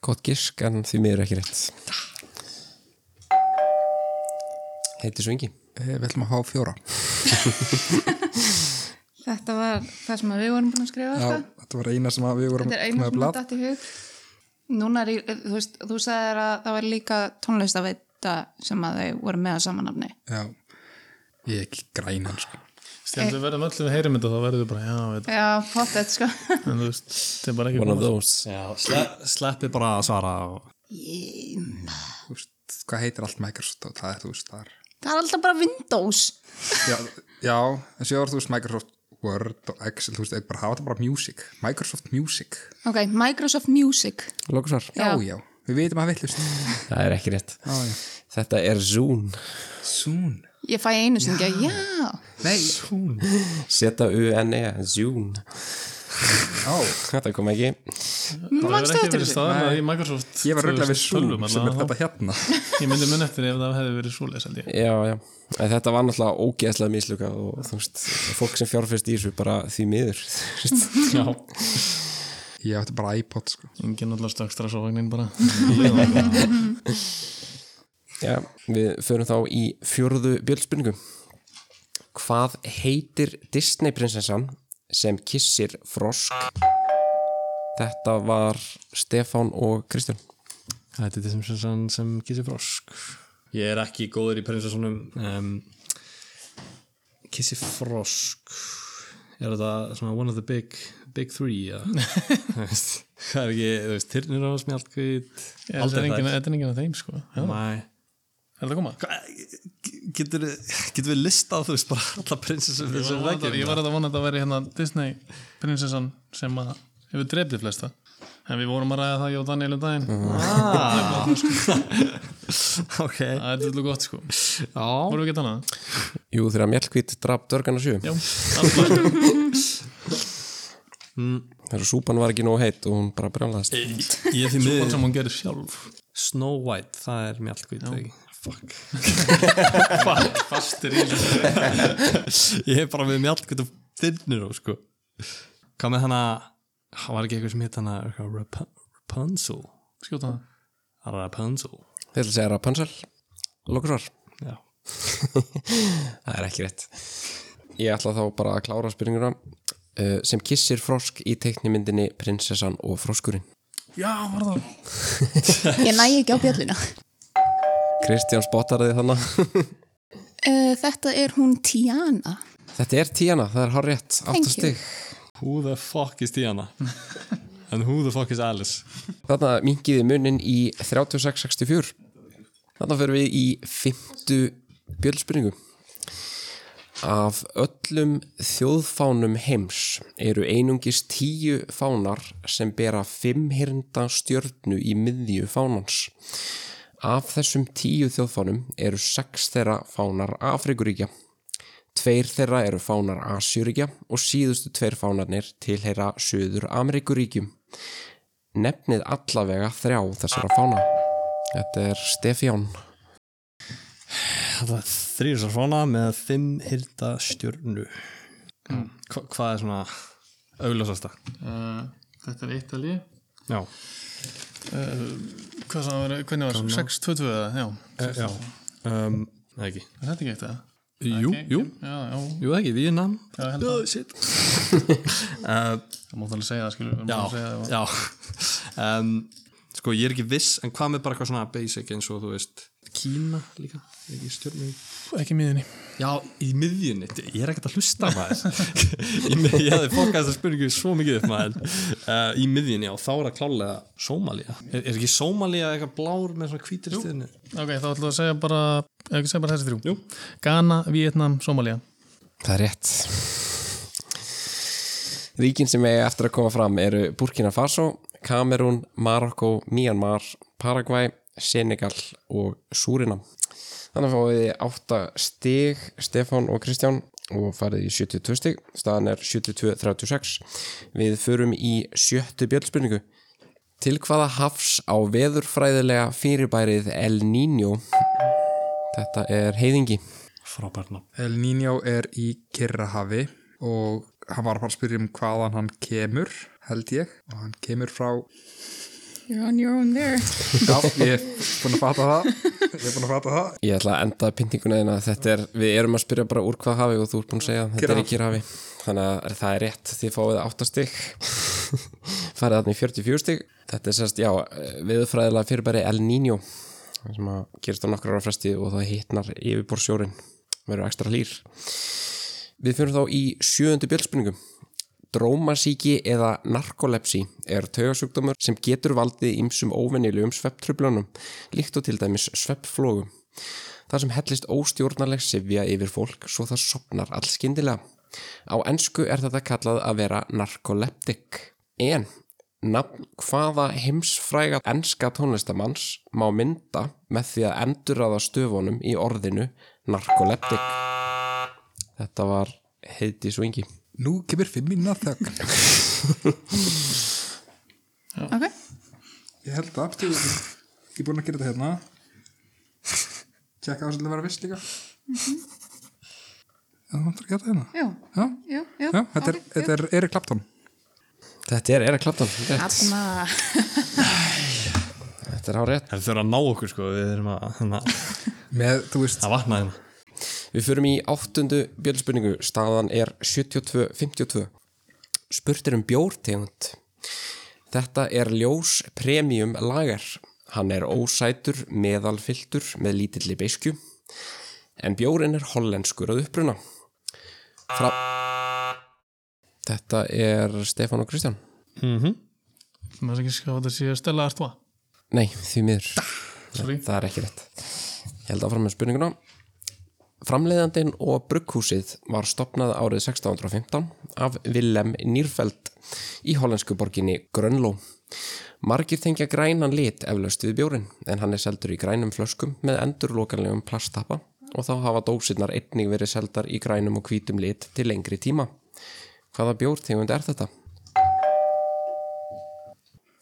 S1: gott gisk en því miður ekki rétt Heiti Svingi
S3: Eh, Við ætlum að fá fjóra
S2: Þetta var það sem við vorum búin að skrifa
S3: Já,
S2: alltaf.
S3: þetta var eina sem að við vorum
S2: Þetta er einu
S3: með
S2: sem
S3: blad
S2: þetta dætt í hug. Núna er, í- þú veist, þú sagðir að það var líka tónlistaveita sem að þau voru með að samanafni.
S3: Já, ég er ekki grænan sko.
S4: Stjæmst við verðum öll við heyrum þetta þá verðum við bara, já, veit
S2: Já, pottet, sko.
S4: En þú veist, þetta er bara ekki
S1: One of
S4: komast-
S1: those
S5: já, sle, sleppi bara að svara og...
S2: Ég-
S3: Þú veist, Hvað heitir allt Microsoft og það er þú veist það er
S2: það er alltaf bara Windows.
S3: Já, já en séu þú veist Microsoft Word og Excel, þú veist, eða bara hafa þetta bara Music Microsoft Music,
S2: Ok, Microsoft Music.
S1: Lókusar
S3: já,
S2: Já.
S3: já, við vitum að villust
S1: Það er ekki rétt Þetta er Zoom
S3: Soon
S2: Ég fæ einu sem ekki að, já.
S3: Nei,
S1: Z-U-N-E Zoom
S3: á,
S1: Þetta kom ekki
S4: Það
S2: Mannstu
S4: hefur ekki
S2: eftir
S4: verið
S2: þessu?
S4: staðan í Microsoft
S3: ég var röglega við Zoom
S4: 2012
S3: sem er
S4: allavega.
S3: þetta hérna
S4: Ég myndi mun eftir ef það hefði verið svoleiðis held ég
S1: Já, já En Þetta var náttúrulega ógeðslega mislukað og þú veist, fólk sem fjárfyrst í þessu bara því miður þú veist.
S4: Já,
S3: Ég átti bara iPod, sko
S4: enginn allar stökstra svo bara
S1: Já, við förum þá í fjörðu bjöldspurningu Hvað heitir Disney prinsessan sem kissir frosk? Þetta var Stefán og Kristján
S5: Þetta er þessum sem, sem Kissi Frosk Ég er ekki góður í prinsessunum um, Kissi Frosk Er þetta svona one of the big big three ja? Það er ekki, þú veist, Tyrnir á smjálkvít
S4: Þetta er enginn þetta er enginn af þeim sko Já.
S5: Mæ
S4: Er það að koma?
S5: Getur, getur við listað þú veist bara alla prinsessum
S4: Ég var að vona þetta- ég var að vona að þetta væri hérna Disney prinsessan sem að hefur drefði flesta en við vorum að ræða það hjá Daniel um daginn Ah.
S5: Ok Já,
S4: sko. það er tullu gott sko vorum við gett annað?
S1: Jú, þegar mjölkvít draf dörgan og sjö
S4: Já, allar
S1: Þegar súpan var ekki nógu heitt og hún bara brjálaðist
S5: ég er því
S4: Hvað
S5: miður
S4: sem hún gerir sjálf
S5: Snow White, það er mjálkvít Fuck
S4: Fuck, fastir í þessu
S5: Ég er bara með mjallkvöld og þinnir og sko Hvað með hana Það var ekki eitthvað sem hitt hana eitthvað Rap Rapunzel
S4: Skjóta það
S5: Rapunzel
S1: Þið ætla að segja Rapunzel Lókusvar
S5: Já
S1: Það er ekki rétt Ég ætla þá bara að klára spurninguna uh, sem kissir frosk í teiknimyndinni prinsessan og froskurinn
S4: Já, var það
S2: Ég næ ekki á bjölluna.
S1: Kristján spottar þið þannig
S2: Uh, þetta er hún Tiana.
S1: Þetta er tíana, það er hár rétt
S2: Thank
S1: Aftur
S2: you.
S1: stig
S5: Who the fuck is Diana? And who the fuck is Alice?
S1: Þarna minkiði munin í 36-64 Þarna fyrir við í fymtu bjöldspurningu Af öllum þjóðfánum heims eru einungis tíu fánar sem bera fimmhyrnda stjörnu í miðju fánans. Af þessum tíu þjóðfánum eru sex þeirra fánar Afrikuríkja. Tveir þeirra eru fánar Asjuríkja og síðustu tveir fánarnir tilheyra Suður Ameríkuríkjum. Nefnið allavega þrjá þessara fána. Þetta er Stefján.
S5: Það var þrýr svo svona með fimm hyrta stjörnu Hva, Hvað er svona augljósasta?
S4: uh, Þetta er eitt alveg
S5: Já,
S4: Hvað sem var, hvernig var, 6-2-2 eða, já
S5: Eh, já. Um, Nei ekki
S4: Er þetta ekki eitt eða?
S5: Jú, jú,
S4: Já, já,
S5: jú það ekki, Vietnam
S4: já, ég held það
S5: Shit
S4: Það mátt alveg segja það, skilur við,
S5: Já,
S4: mátt segja það.
S5: já um, Sko, ég er ekki viss En hvað með bara eitthvað svona basic eins og þú veist Kína líka er ekki stjórnum
S4: ekki miðinni
S5: já, í miðjunni, ég er ekkert að hlusta maður Í mið- ég hefði fokast þessa spurningu svo mikið upp maður uh, í miðjunni, já, þá er að klálega Sómalía, er, er ekki Sómalía eitthvað blár með svona hvítir stíðinu
S4: ok, þá ætlum við að segja bara ef ekki segja bara þessi þrjú Jú. Ghana, Vietnam, Somalia
S1: Það er rétt. Ríkin sem eiga eftir að koma fram eru Burkina Faso, Kamerún, Marokko, Myanmar, Paraguay, Senegal og Súrinam. Þannig fáið þið 8 stig, Stefán og Kristján og farið í 72 stig. Staðan er 72-36. Við förum í sjöttu bjöldspurningu. Til hvaða hafs á veðurfræðilega fyrirbærið El Niño? Þetta er heiðingi.
S5: frábærna
S3: El Niño er í Kirrahafi og hann var bara að spyrja um hvaðan hann kemur, held ég og hann kemur frá
S2: You're on your own there.
S3: Já, ég er búin að fatta það Ég er búin að fatta það
S1: Ég ætla að enda pyntinguna þína þetta er, við erum að spyrja bara úr hvað hafi og þú ert búin að segja, þetta er í Kyrhafi þannig að það er rétt, þið fáið 8 stygg farið þarna í 44 stygg þetta er sérst, já, viðfræðilega fyrirbæri El Niño sem að gerist á nokkrar ára fresti og það hitnar yfirborðsjórin, verður ekstra hlýr Við fyrir þá í sjöundu bjöldspurningum Drómasíki eða narkolepsi er taugasjúkdómur sem getur valdið ýmsum óvennilegum svepptröflunum, líkt og til dæmis sveppflógum. Það sem hellist óstjórnarleg sifja yfir fólk svo það sopnar allskyndilega. Á ensku er þetta kallað að vera narkoleptik. En, nafn hvaða heimsfræga enska tónlistamanns má mynda með því að endurraða stöfunum í orðinu narkoleptik. Þetta var heiti svo yngi.
S3: Nú kemur fimmina þögn
S2: Ok,
S3: Ég held það, betur Ég er búin að gera þetta hérna Tjekka á svolítið að vera viss líka Það vantur að gera þetta hérna
S2: já,
S3: Já,
S2: já, já.
S3: já þetta er,
S2: ok,
S3: þetta er Erik Clapton
S1: Þetta er Eira Klaptan
S2: Þarna.
S1: Þetta er á rétt
S5: það þurfa að ná okkur sko, við erum að hana,
S3: Með, þú veist,
S5: að hérna. vakna þeim
S1: Við förum í áttundu bjöldspurningu Staðan er 72-52 Spurt er um bjórtegund Þetta er ljós premium lager Hann er ósætur, meðalfyltur með lítilli beiskju En bjórin er hollenskur að uppruna Fra... Þetta er Stefán og Kristján
S4: maður er ekki skáð að þetta sé Stella Artois
S1: Nei, því miður
S4: sorry,
S1: Það er ekki rétt. Ég held áfram með spurninguna. Framleiðandin og brugghúsið var stopnað árið 1615 af Willem Nýrfeld í hollensku borginni Grönló. Margir tengja grænan lit eflaust við bjórin en hann er seldur í grænum flöskum með endurlokanlegum plasttappa og þá hafa dósirnar einnig verið seldar í grænum og hvítum lit til lengri tíma. Hvaða bjórtegund er þetta?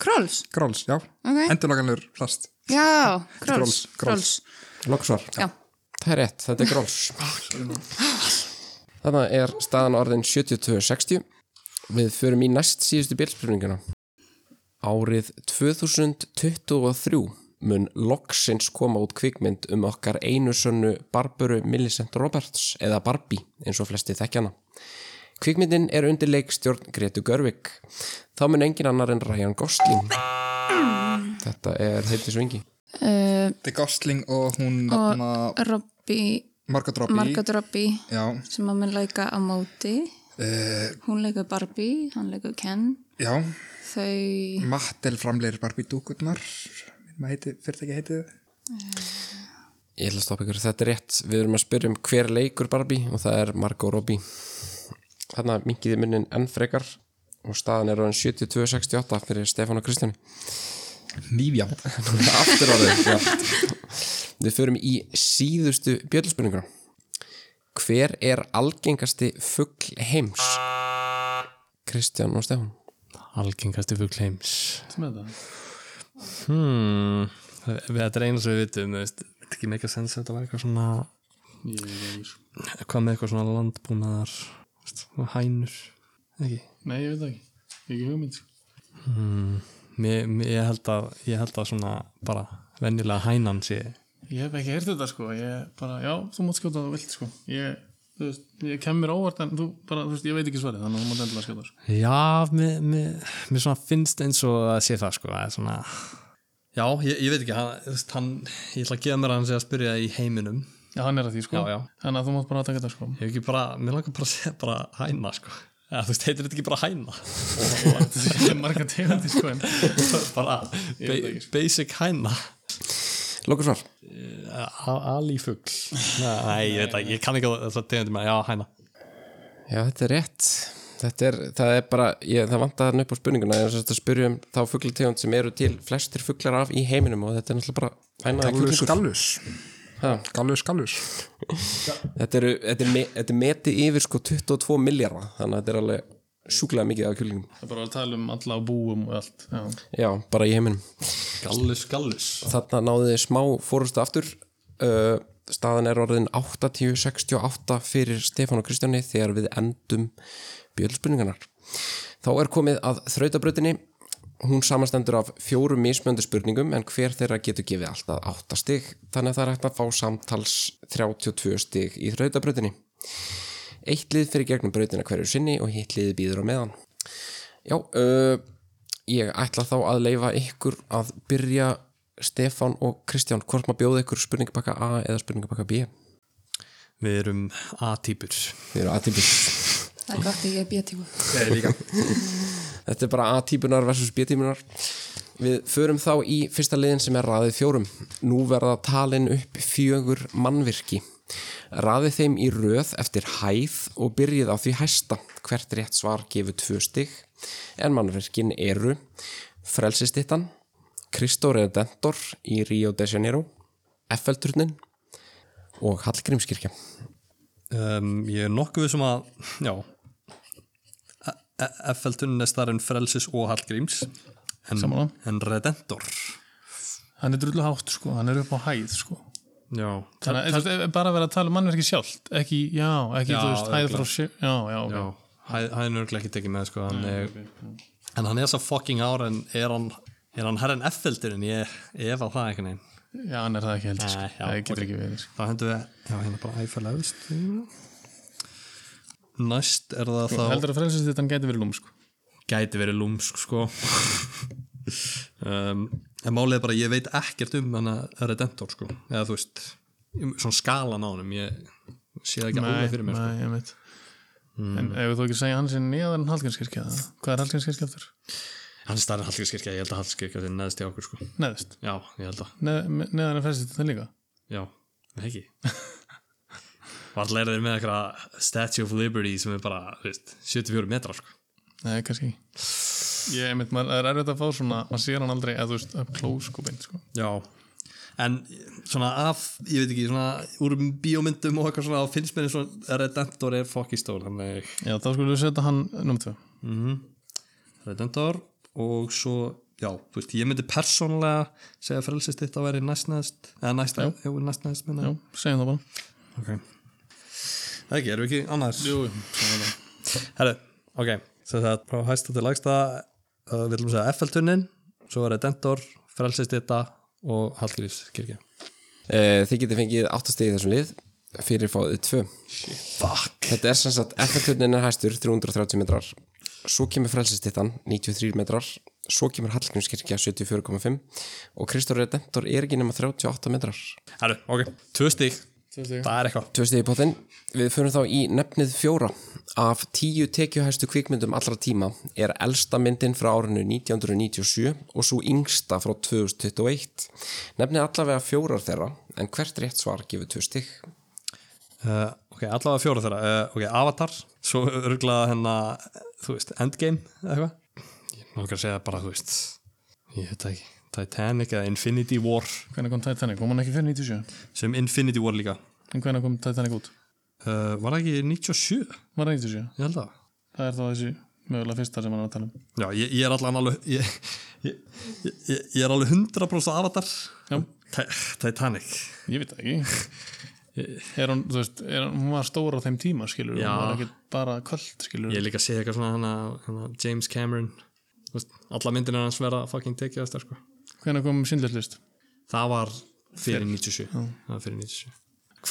S2: Krolls,
S3: Gróls, já
S2: Ok.
S3: Endurlaganlegur plast
S2: já,
S3: Krolls,
S2: Krolls,
S3: Krolls.
S2: Krolls.
S1: Lóksvar.
S2: Já.
S1: Það er rétt, þetta er gróls. Þannig er staðan orðin 72-60. Við förum í næst síðustu bílspurninguna. Árið 2023 mun loksins koma út kvikmynd um okkar einu sönnu Barbaru Millicent Roberts eða Barbie eins og flesti þekkjana. Kvikmyndin er undir leikstjórn Gretu Görvik. Þá mun engin annar en Ryan Gosling. Þetta er heiti svingi.
S2: Uh,
S3: The Gosling og hún nafna
S2: og Robby,
S3: Margot Robbie
S2: Margot Robby,
S3: Já,
S2: sem að mun leika á móti.
S3: uh,
S2: Hún leikur Barbie, hann leikur Ken.
S3: já
S2: Þau,
S3: Mattel framlegir Barbie dúkurnar Maður heiti, fyrir ekki heitið
S1: Ég ætla að stoppa ykkur, þetta er rétt Við erum að spyrja um hver leikur Barbie og það er Margot Robbie Þarna minkiði munnin enn frekar og staðan er orðin 72-68 fyrir Stefán og Kristjáni
S3: Nýfjá
S1: Aftur orðin já. Við förum í síðustu bjöllspurninguna Hver er algengasti fugl heims? Kristján og Stefán
S5: algengasti fugl heims
S4: sem er þetta
S5: hmm. við þetta er einu sem við vitum þú veist, þetta er ekki meika sens að þetta var eitthvað svona
S4: sko.
S5: hvað með eitthvað svona landbúnaðar þú veist, hænur ekki
S4: nei, ég veit það ekki, Ég hef ekki hugmynd sko.
S5: Mér, mér, ég, held að, ég held að svona bara venjulega hænan sé
S4: ég hef ekki heyrt þetta sko ég bara, já, þú mátt skjóta það vilt sko ég, þú veist, ég kem mér óvart en þú bara, þú veist, ég veit ekki svarið þannig að þú mátt endilega skjóta það sko.
S5: Já, mér, mér, mér svona finnst eins og að sé það sko að svona Já, ég, ég veit ekki, hann, þú veist, hann, ég ætla að gefa mér að hann sé að spyrja í heiminum.
S4: Já, hann er að því sko
S5: Já, já.
S4: Þannig að þú mátt bara taka þetta sko
S5: Ég hef ekki bara, mér langar bara að segja bara hæna, sko. Eða, þú veist, heitir þetta ekki bara hæna?
S4: Þetta er ekki marga tegandi sko en
S5: bara ba basic hæna.
S1: Lókur svar
S5: Alífugl. Nei, ég veit ekki, ég kann ekki að það tegandi með, já, hæna.
S1: Já, þetta er rétt Þetta er, það er bara, ég, það vantar hann upp á spurninguna en þess að spyrja um þá fugglategund sem eru til flestir fugglar af í heiminum og þetta er náttúrulega bara ænaða
S3: Gallus,
S1: kjúklingur
S3: gallus
S1: Ha.
S3: Gallus, gallus
S1: Þetta eru, þetta er, me, þetta er meti yfir sko 22 miljardar þannig að þetta er alveg sjúklega mikið af kjúlingum
S4: Það er bara að tala um alla á búum og allt Já,
S1: Já, bara í heiminum
S5: Gallus, gallus.
S1: Þarna náðu þið smá fórustu aftur uh, staðan er orðin 80-68 fyrir Stefán og Kristjáni þegar við endum bjöldspurningarnar Þá er komið að þrautabrautinni hún samastendur af fjórum mismöndu spurningum en hver þeirra getur gefið alltaf 8 stig þannig að það er hægt að fá samtals 32 stig í þrautabrautinni Eitt lið fyrir gegnum brautina hverju sinni og hitt liði býður á meðan Já, uh, ég ætla þá að leifa ykkur að byrja Stefán og Kristján, hvort maður bjóði ykkur spurningabakka A eða spurningabakka B
S5: Við erum A-típur.
S1: Þið eru A-típur
S2: Það er gott að ég er bjötíku.
S1: Þetta er bara A-típunar versus B-típunar Við förum þá í fyrsta liðin sem er raðið fjórum Nú verða talin upp fjögur mannvirki Raðið þeim í röð eftir hæð og byrjið á því hæsta Hvert rétt svar gefur tvö stig En mannvirkin eru Frelsistittan Kristór Redentor í Rio de Janeiro Effelturnin og Hallgrímskirkja
S5: Um, ég er nokkuð sem að, já, F-feltunum er starinn Frelsis og Hallgríms. En-
S4: Sammála.
S5: En Redentor.
S4: hann er drullu hátt sko, hann er upp á hæð sko
S5: Já,
S4: Þannig að þú veist, ef- bara að vera að tala um mannverki sjálft ekki, já, ekki,
S5: Já,
S4: þú veist, hæð frá
S5: örugglega.
S4: sjö Já, já, ok
S5: Já, hann er nörglega ekki tekið með sko, hann er, en hann er svo fucking ár en er hann, er hann herren F-feldirinn, ég ég ef á það einhvern veginn
S4: Já, hann er það ekki heldur sko,
S5: Nei, já,
S4: það getur
S5: ok.
S4: ekki verið sko.
S5: þá hendur við, já hérna bara æfæla efst næst er það þá
S4: Heldur að frelsist þetta hann gæti verið lúm sko
S5: gæti verið lúmsk sko um, en málið er bara að ég veit ekkert um hann að Redentor sko, eða þú veist um, svona skalan á hann ég sé það ekki alveg fyrir mér sko. Mm.
S4: nei, ég veit En ef þú ekki segja hann sinni neðan Hallgrímskirkja eða? Hvað er Hallgrímskirkja aftur?
S5: hann er starri Hallgrímskirkja, ég held að Hallgrímskirkja er neðst í okkur sko,
S4: Neðist,
S5: já, ég held að
S4: Neð, neðan er frelsist þetta líka
S5: Já, nei ekki Varla er þeir með eitthvað Statue of Liberty sem er bara þú veist, 74 metrar sko
S4: Nei, kannski ekki Ég veit, maður það er erfitt að fá svona maður sér hann aldrei, eða þú veist, up close sko beint sko
S5: Já En svona af, ég veit ekki, svona úr bíómyndum og eitthvað svona þá finnst mér eins og Redentor er fokki stór þannig
S4: Já, þá skulum við setja hann nummer tvö
S5: Redentor og svo, já, þú veist, ég myndi persónlega segja frelsist þitt að veri næstnæðst eða næst, já, næstnæðst minna
S4: Já, segjum það bara
S5: Ok Það ekki, erum við ekki annars? Jú, Herru, ok Svo það frá hæsta til lægsta uh, við viljum segja FL-tunnin svo er Redentor, Frelsistita og Hallgrífskirkja
S1: Eh, Þið getið fengið 8 stig í þessum lið fyrir fáið 2
S5: Fuck
S1: Þetta er sem sagt, FN-turnin er hæstur 330 metrar, svo kemur frelsistittan 93 metrar, svo kemur Hallgrímskirkja 74,5 og Kristóri Redemptor er ekki nema 38 metrar.
S5: Herru, ok, tvö stík Það er eitthvað
S1: Tvö stegi í potinn, við förum þá í nefnið fjóra. Af tíu tekjuhæstu kvikmyndum allra tíma er elsta myndin frá árinu 1997 og svo yngsta frá 2021. Nefnið allavega fjórar þeirra, en hvert rétt svar gefur tvö stig.
S5: uh, Ok, allavega fjóra þeirra uh, Ok, Avatar, svo örgla hennar þú veist, Endgame eða eitthvað Ég nokkar að segja bara, þú veist ég veit það ekki, Titanic eða Infinity War
S4: Hvernig kom Titanic? Kom hann ekki fyrir 97?
S5: sem Infinity War líka
S4: En hvernig kom Titanic út?
S5: uh, Var það ekki 97?
S4: Var það 97?
S5: Ég held að
S4: Það er þá þessi mögulega fyrsta sem hann er að tala um.
S5: Já, ég, ég er allan alveg ég, ég, ég, ég er alveg 100% avatar
S4: Já.
S5: Ti- Titanic
S4: Ég veit það ekki. Er hún, þú veist, er hún, hún var stór á þeim tíma, skilur,
S5: Já.
S4: hún var ekki bara kvöld, skilur.
S5: Ég er líka að segja eitthvað svona hana, hana James Cameron Þú veist, alla myndin er hans vera fucking tekið þetta sko
S4: Hvernig kom Sindlerslist?
S5: Það var fyrir 97 Það var fyrir 97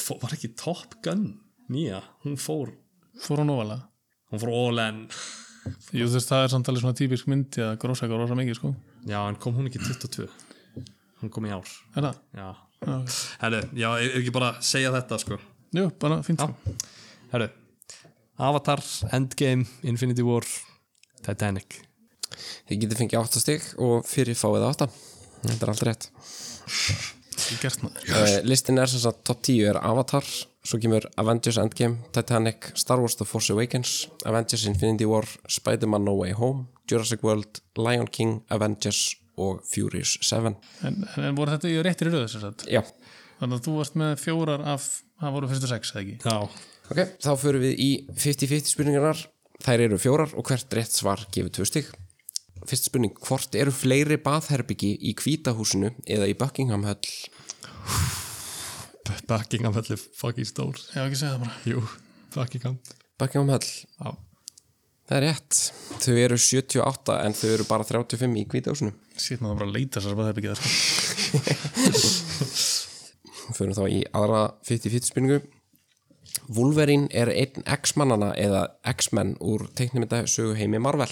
S5: Hvo- Var ekki Top Gun nýja? Hún fór
S4: Fór hún ofalega?
S5: Hún fór all in
S4: Jú, þú veist, það er samtalið svona típisk myndi að grósa eitthvað rosa mikið, sko.
S5: Já, en kom hún ekki 22? hann kom í ár
S4: Er það?
S5: já,
S4: Já, ok.
S5: herru, já, ég ekki bara að segja þetta sko
S4: Jú, bara fínt sko.
S5: herru, Avatar, Endgame Infinity War, Titanic
S1: Þið getið fengið 8 stygg og fyrir fáið 8 Þetta er allt rétt
S4: Ég gert maður
S1: yes. Listin er sem sagt top 10 er Avatar Svo kemur Avengers Endgame, Titanic, Star Wars The Force Awakens Avengers Infinity War, Spider-Man No Way Home Jurassic World, Lion King, Avengers og Furious 7
S4: en, en, en voru þetta í réttir röðu sem sagt
S1: Já,
S4: Þannig að þú varst með fjórar af Það voru fyrstu sex, eða ekki?
S5: já,
S1: ok, þá förum við í 50-50 spurningarnar Þær eru fjórar og hvert rétt svar gefur 2 stygg Fyrst spurning, hvort eru fleiri baðherbyggi í Hvítahúsinu eða í Buckingham Höll?
S5: Buckingham hellu fucking stór
S4: Já, ekki segja það bara
S5: jú, Buckingham
S1: Buckingham Höll,
S5: já,
S1: Það er rétt. Þau eru 78 en þau eru bara 35 í kvítahúsinu.
S4: Sýtt maður bara að leita sér bara það sko.
S1: Förum þá í aðra 50-50 spurningu. Wolverine er einn X-mannana eða X-menn úr teiknumynda sögu heimi Marvel.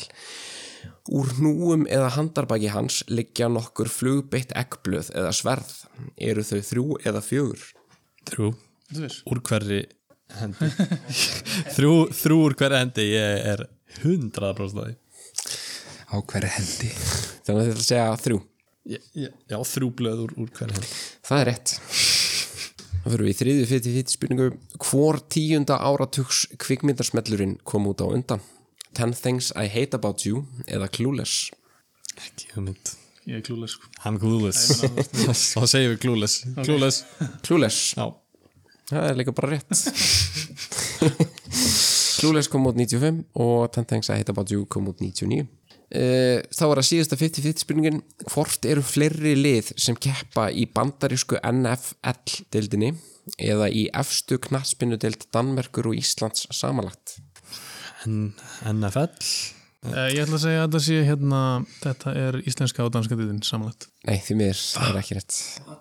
S1: Úr núum eða handarbaki hans liggja nokkur flugbeitt eggblöð eða sverð. Eru þau þrjú eða fjögur?
S5: þrjú
S4: Þú veist
S5: úr hverri hendi þrjú, þrjú úr hverri hendi ég er 100% að því
S3: á hverju hendi
S1: Þannig að þetta segja þrjú.
S5: Já, já, já, þrjú blöð úr, úr hverju hendi
S1: Það er rétt. Það fyrir við í þriðju 50-50 spurningu. Hvor tíunda áratugs kvikmyndarsmellurinn kom út á undan? Ten Things I Hate About You eða Clueless?
S5: Ekki hugmynd
S4: Ég er klúlega sko
S5: Hann klúles Þá segjum við klúles Klúles
S1: Clueless.
S5: Já
S1: Það er líka bara rétt. Clueless kom út 95 og Ten Things I Hate About You kom út 99. Uh, þá var það síðasta 50-50 spurningin hvort eru fleiri lið sem keppa í bandarísku NFL-dildinni eða í efstu knattspinnudild Danmerkur og Íslands samanlagt
S5: N NFL
S4: Eh, Ég ætla að segja að þetta sé hérna Þetta er íslenska og danska dýðin samanlegt
S1: Nei, því miður, það er ekki rétt uh,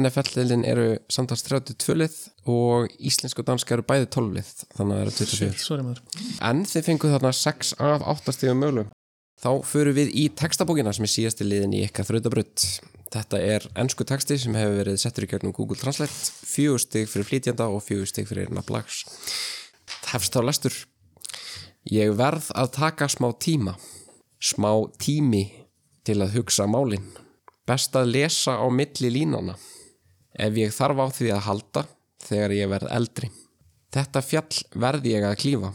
S1: NFL-liðin eru samtals 32 lið og íslensk og danska eru bæði 12 lið þannig að það eru 24
S4: Sorry maður
S1: En þið fenguð þarna 6 af 8 stíðum möglu Þá förum við í textabókina sem er síðasti liðin í ykkar þrautabrödd Þetta er ennsku texti sem hefur verið settur í gegnum Google Translate fjögur stig fyrir flýtjanda og fjögur stig fyrir nafnlags Hefst þá lestur Ég verð að taka smá tíma, smá tími til að hugsa málin. Best að lesa á milli línana. Ef ég þarf á því að halda þegar ég verð eldri. Þetta fjall verð ég að klífa.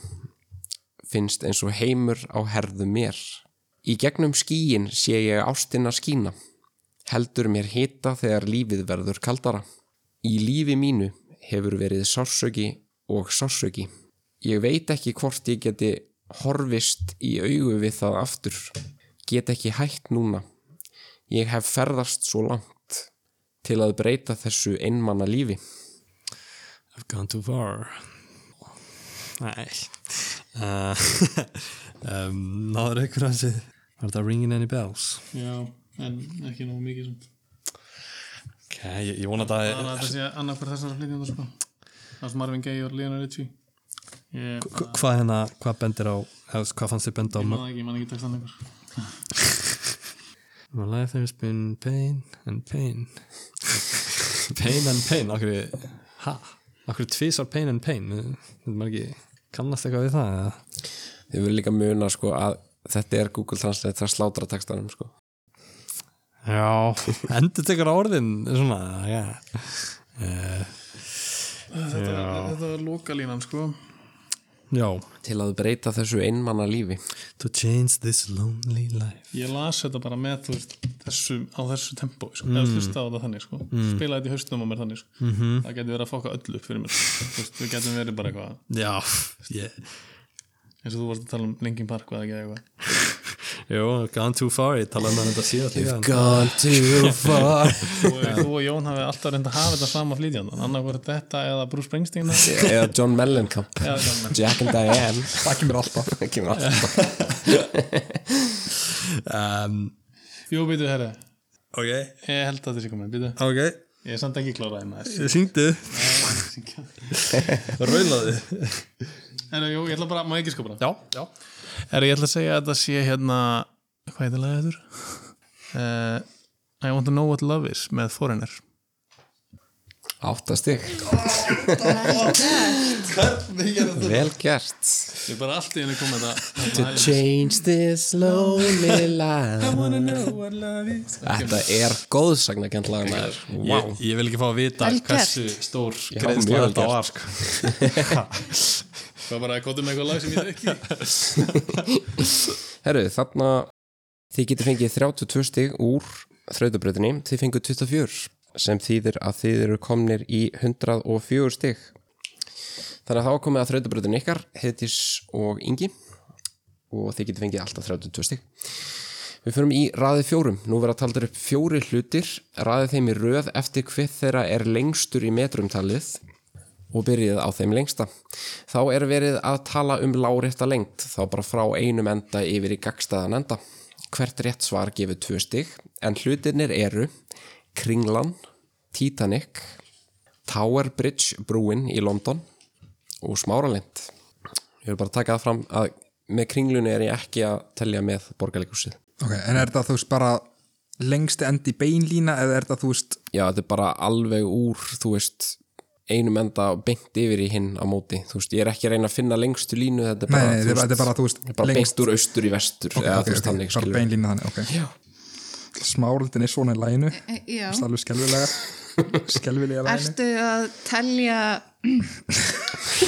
S1: Finnst eins og heimur á herðu mér. Í gegnum skíin sé ég ástina skína. Heldur mér hita þegar lífið verður kaldara. Í lífi mínu hefur verið sársöki og sársöki. Ég veit ekki hvort ég geti horfist í augu við það aftur. Get ekki hætt núna. Ég hef ferðast svo langt til að breyta þessu einmanna lífi.
S5: I've gone too far Nei uh, um, Náður ykkur að þessi Var þetta ringing any bells?
S4: Já, en ekki nógu mikið samt
S5: Ok, ég, ég vona að
S4: Þannig að þetta sé annað hver þessar flýtjum sko Það er Marvin Gaye og Leonard Ritchie Ég
S5: Hva- Hvað hérna, hvað bendir á eða, Hvað fannst þið benda á
S4: man það ekki, ég man ekki textan lengur
S5: My life there's been pain and pain Pain and pain Akkur Ha? Akkur tvísar pain and pain Þetta maður ekki kannast eitthvað við það eða?
S1: Þið verður líka muna sko að þetta er Google Translate það slátra textanum sko.
S5: Já, endur tekur orðin svona, já uh,
S4: Þetta þetta var lokalínan sko
S5: Já
S1: Til að breyta þessu einmanna lífi.
S5: To change this lonely life
S4: Ég las þetta bara með þú veist, þessu, á þessu tempó sko. mm. eða hlusta á þetta þannig sko.
S5: Mm.
S4: spila þetta í haustum á mér þannig sko. -hmm.
S5: Mhm.
S4: það getur verið að fokka öllu upp fyrir mér sko. Þú veist, við getum verið bara eitthvað
S5: Já, yeah.
S4: eins og þú varst að tala um Linkin Park eða ekki eitthvað
S5: Jó, gone too far, ég talaði með þetta síðan líka
S1: Gone too far.
S4: og þú og Jón hafi alltaf reynd að hafa þetta sama flýtjandan annarkvort þetta eða Bruce Springsteen eða
S1: Eða John Mellencamp.
S4: eða John Lennon.
S1: Jack and Diane. Það kemur alltaf. Það kemur alltaf.
S5: um,
S4: Jú, býtu, herri,
S5: Ok,
S4: ég held að þetta sé komin býtu,
S5: ok,
S4: ég er samt ekki klárað hérna þessi
S5: syngdu Raulaði
S4: Herri, jú, ég ætla bara, má ég ekki sko bara
S5: Já, já
S4: Herri, ég ætla að segja að þetta sé hérna hvað heitir lagið þetta? Uh, I want to know what love is með Foreigner
S1: Áttastig Vel gert
S4: Ég bara allt í henni kom með
S1: To change this lonely life
S4: þetta
S1: Þetta er góðsagnakent lag maður wow.
S5: ég, ég vil ekki fá að vita
S2: Vel gert.
S5: hversu stór
S1: Já,
S5: greiðsla
S1: mjög
S5: þetta
S1: gert.
S5: var sko.
S4: Það bara gotum eitthvað lag sem ég þekki
S1: Herru, þarna þið getur fengið 32 stig úr þrautabröðinni, þið fengu 24 sem þýðir að þið eru komnir í 104 stig Þannig að þá er komið að þrautabröðinni ykkar Heiðdís og Ingi og þið getur fengið alltaf 32 stig Við förum í raðið fjórum. Nú verða taldir upp fjóri hlutir, raðið þeim í röð eftir hvið þeirra er lengstur í metrumtalið og byrjið á þeim lengsta. Þá er verið að tala um lárétta lengt, þá bara frá einum enda yfir í gagstaðan enda. Hvert rétt svar gefur tvö stig, en hlutinir eru Kringlan, Titanic, Tower Bridge brúin í London og Smáralind. Ég vil bara taka það fram að með kringlunni er ég ekki að telja með borgarleikúsið.
S3: ok, en er þetta þú veist bara lengsti endi beinlína eða er þetta þú veist
S1: Já, þetta er bara alveg úr, þú veist, einum enda beint yfir í hinn á móti. Þú veist, ég er ekki að reyna að finna lengstu línu, þetta er
S3: nei,
S1: bara,
S3: nei,
S1: þú
S3: þetta er
S1: veist,
S3: bara- þetta er bara þú veist
S1: bara
S3: lengst-
S1: beint úr austur í vestur,
S3: ok,
S1: eða
S3: ok,
S1: þú veist,
S3: ok,
S1: þannig
S3: bara
S1: skilur.
S3: beinlína þannig, ok
S1: Já,
S3: smárildin er svona í læginu
S2: Eh, Já.
S3: það er alveg skelvilega skelvilega læginu
S2: Ertu að telja uh,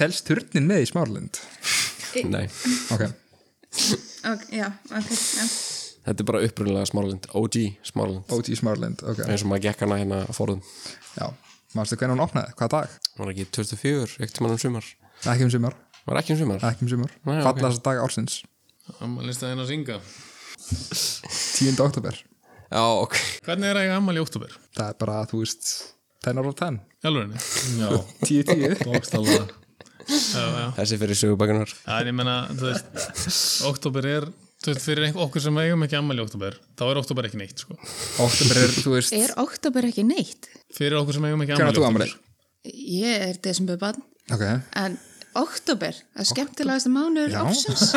S3: telst turnin með í smárlind
S1: nei,
S3: ok,
S2: ok, Já, ok já.
S1: þetta er bara upprunnilega smáralind, OG smáralind,
S3: OT smárlind, ok
S1: eins og maður gekk hana hérna að forðum.
S3: já, manstu hvernig hún opnaði, hvaða dag
S1: Var ekki 24, ekkert mann um sumar.
S3: ekki um sumar,
S1: Var ekki um sumar?
S3: ekki um sumar
S1: Nei, ok.
S3: falla þess að dag ársins,
S4: Ammalist að hérna að synga
S3: 10. oktober
S1: Já, ok.
S4: Hvernig er að ég ammal í óttúber?
S3: það er bara, þú veist 10 ára 10,
S4: Jálfurinni?
S5: Já,
S3: 10, 10
S5: bókstallega
S1: Þessi fyrir sögubækunar.
S4: Það er ég menna, þú veist Óttúber er, þú veist, fyrir einhver, okkur sem eigum ekki ammal í óttúber þá er óttúber ekki neitt, sko
S3: oktober er, þú veist,
S2: Er oktober ekki neitt?
S4: Fyrir okkur sem eigum ekki
S3: hvernig
S4: ammal
S3: er
S4: í
S3: þú
S4: óttúber
S3: amalið
S2: Ég er desemberbann
S3: ok,
S2: En oktober, það er skemmtilegast mánuður áfsins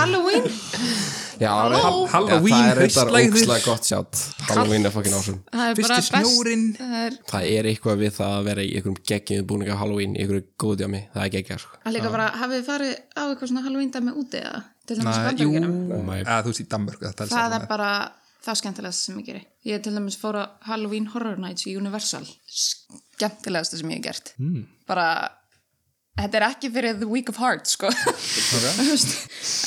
S2: Halloween
S1: Já,
S2: Halló?
S1: Hall-
S3: Halloween,
S1: Já, það er reyndar
S3: haustlægðir.
S1: ógslag gott sjátt. Halloween er fokkin ásum.
S2: Það er bara
S3: Fyrsti
S2: best
S3: snjórinn.
S2: Það er
S1: Það er eitthvað við það að vera í einhverjum geggjum búninga á Halloween, í einhverju góðdjámi, það er geggjað, sko.
S2: að líka bara, hafið þið farið á eitthvað svona Halloween dæmi úti eða til dæmis
S3: Nei, jú,
S2: bandaríkjana
S3: eða þú veist í Danmörku það telst
S2: Það
S3: alveg
S2: er
S3: með.
S2: bara það skemmtilegast sem ég geri Ég til dæmis fór á Halloween Horror Nights í Universal skemmtilegast sem ég hef gert mm.
S3: Hmm.
S2: bara þetta er ekki fyrir The Week of Hearts sko Þú veist,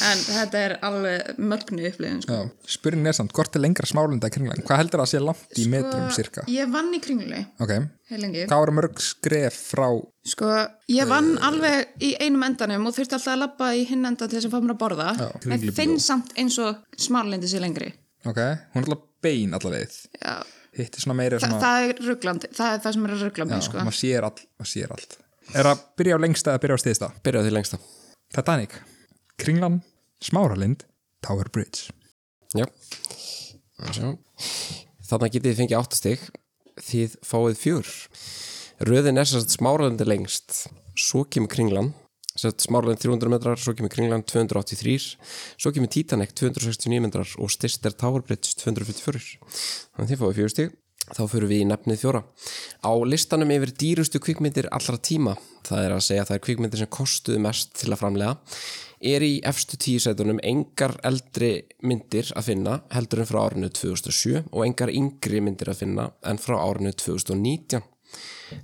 S2: en þetta er alveg mögnu upplifin sko.
S3: Já, spurning er samt, hvort er lengra smálunda í kringlan? Hvað heldur það að sé langt
S2: Sko-
S3: í metrum cirka?
S2: Ég vann í kringlu
S3: Ok,
S2: heilengi
S3: hvað eru mörg skref frá
S2: Sko, ég vann
S3: Eh.
S2: alveg í einum endanum og þurfti alltaf að labba í hinn endan til þess að fá mér að borða. en finn samt eins og smárlindi sér lengri.
S3: Ok, hún er alltaf bein allaveg
S2: Já,
S3: Hitt er svona meira
S2: Þa,
S3: svona
S2: það er rugglandi, það er það sem er að ruggla mig,
S3: já,
S2: sko.
S3: maður sér, all, maður sér allt Er að byrja á lengsta eða byrja á stiðsta?
S1: Byrjaðu því lengsta.
S3: Titanic, Kringlan, Smáralind, Tower Bridge
S1: Já Þannig getið þið fengið áttastig Þið fáið fjör Röðin er sérst smáralandi lengst Svo kemur kringlan Sérst smáralandi 300 metrar, svo kemur kringlan 283 Svo kemur Titanic 269 metrar og styrst er Tower Bridge 244 Þannig að þið fáið fjörstig Þá fyrir við í nefnið fjóra. Á listanum yfir dýrustu kvikmyndir allra tíma, það er að segja þær kvikmyndir sem kostuðu mest til að framlega, er í efstu tíu sætunum engar eldri myndir að finna heldur en frá árinu 2007 og engar yngri myndir að finna en frá árinu 2019.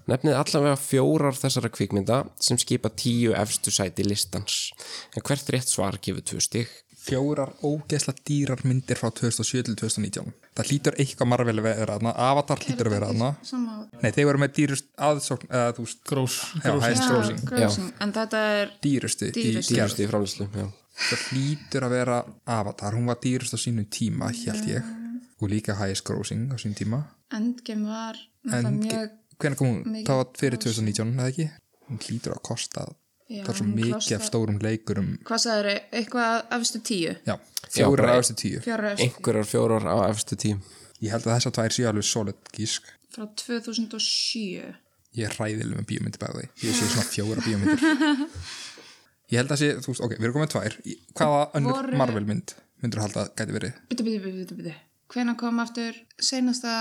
S1: Nefnið allavega fjórar þessara kvikmynda sem skipa tíu efstu sæti listans. En hvert rétt svar gefur tvö stig?
S3: Fjórar ógeðsla dýrar myndir frá 2007 til 2019 Það hlýtur eitthvað marvel að vera þarna Avatar hlýtur að vera þarna
S2: Sama,
S3: Nei, þeir voru með dýrust aðsókn eða þú veist,
S4: Grós,
S3: já,
S4: grós
S3: hæst grósing
S2: grósing. En þetta er,
S3: dýrustu,
S2: Dýrustu.
S3: í gerð
S1: Fyrst í framlýslu, já.
S3: það hlýtur að vera Avatar, hún var dýrust á sínum tíma held ég, og líka highest grossing á sínum tíma
S2: endgame var, en,
S3: en
S2: mjög,
S3: hvernig kom hún,
S2: mikið
S3: það var fyrir 2019 eða ekki, hún hlýtur að kosta
S2: Já,
S3: það er svo
S2: hún
S3: mikið
S2: kostar-
S3: af stórum leikurum
S2: hvað það eru, eitthvað efstu tíu,
S3: já,
S1: Já,
S3: fjórar
S1: bara-
S3: af þessu tíu
S2: fjóra efstu,
S1: Einhverjar fjórar á efstu tíu.
S3: ég held að þessar tvær séu alveg solid gísk
S2: frá 2007.
S3: ég er hræðileg með bíómyndi bæði ég sé svona fjóra bíómyndir Ég held að sé, þú veist, ok, við erum komið tvær Í- Hvaða önnur
S2: Voru-
S3: Marvel mynd myndur halda að gæti verið?
S2: Bitu, bitu, bitu, bitu, bitu. Hvenær kom aftur senasta,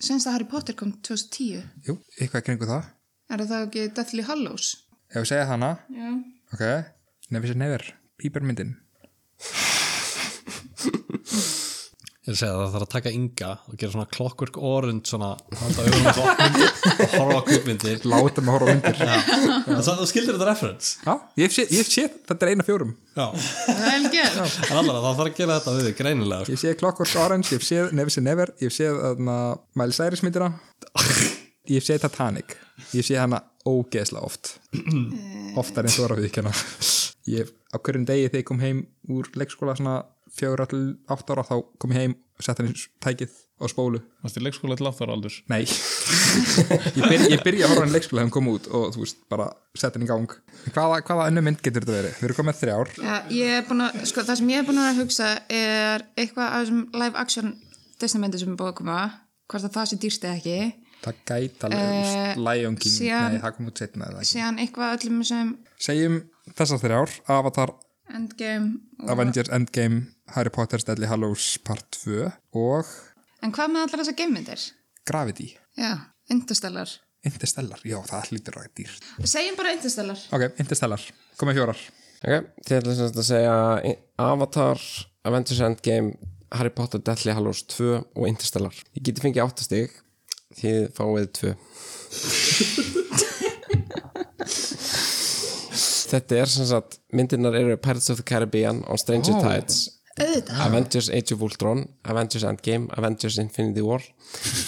S2: senasta Harry Potter kom 2010?
S3: Jú, eitthvað kringu það
S2: Er það ekki Deathly Hallows?
S3: Ef við segja hana,
S2: Já.
S3: ok Nefis er nefir, pípermyndin
S5: Ég er að segja að það þarf að taka ynga og gera svona clockwork orange svona halda augunum á klokkmynd og horfa á kvipmyndir
S3: Látum að horfa á myndir Já,
S5: Það skildir þetta reference
S3: ég hef séð, ég hef séð, þetta er eina fjórum
S5: Já,
S2: Helge,
S5: en allar að það þarf að gera þetta við þig, greinilega sko.
S3: Ég hef séð Clockwork Orange, ég hef séð Nevis er nefir Ég hef séð þarna Miley Cyrus myndina Ég hef séð Titanic Ég hef séð hana ógeðslega oft Oftar en þú er að viðkjanna Ég, á hverjum degi þegar ég kom heim úr leikskóla svona fjögur all átt ára þá kom ég heim og sett hann í tækið á spólu
S4: Varst í leikskóla til aftar aldur
S3: Nei Ég, byr, ég byrja að horfa hann leikskóla þegar hann kom út og þú veist, bara sett hann í gang En Hvaða, hvaða önnu mynd getur þetta verið? Við erum komið með þrjár
S2: Já, ég er búin að, sko, það sem ég er búin að hugsa er eitthvað af þessum live action Disney myndir sem er búin að koma, hvort að það sé dýrst eða ekki,
S3: Það gæti alveg, þú veist, Lion King
S2: síðan-
S3: Nei, það kom út setna eða ekki
S2: síðan eitthvað öllum sem
S3: Segjum þessar þrjár Avatar,
S2: Endgame og...
S3: Avengers Endgame Harry Potter, Stanley Hallows Part 2 og
S2: En hvað með allar þessar gamemyndir?
S3: Gravity
S2: Já, Interstellar.
S3: Interstellar, já, það hlýtur að vera dýrt
S2: Segjum bara Interstellar.
S3: Ok, Interstellar, komið fjórar
S1: Ok, þið ætla sem sagt að segja Avatar, Avengers Endgame Harry Potter, Deathly Hallows 2 og Interstellar. Ég geti fengið 8 stig þið fáið 2 Þetta er sem sagt myndirnar eru Pirates of the Caribbean on Stranger Tides
S2: Auðvitað.
S1: Avengers Age of Ultron Avengers Endgame, Avengers Infinity War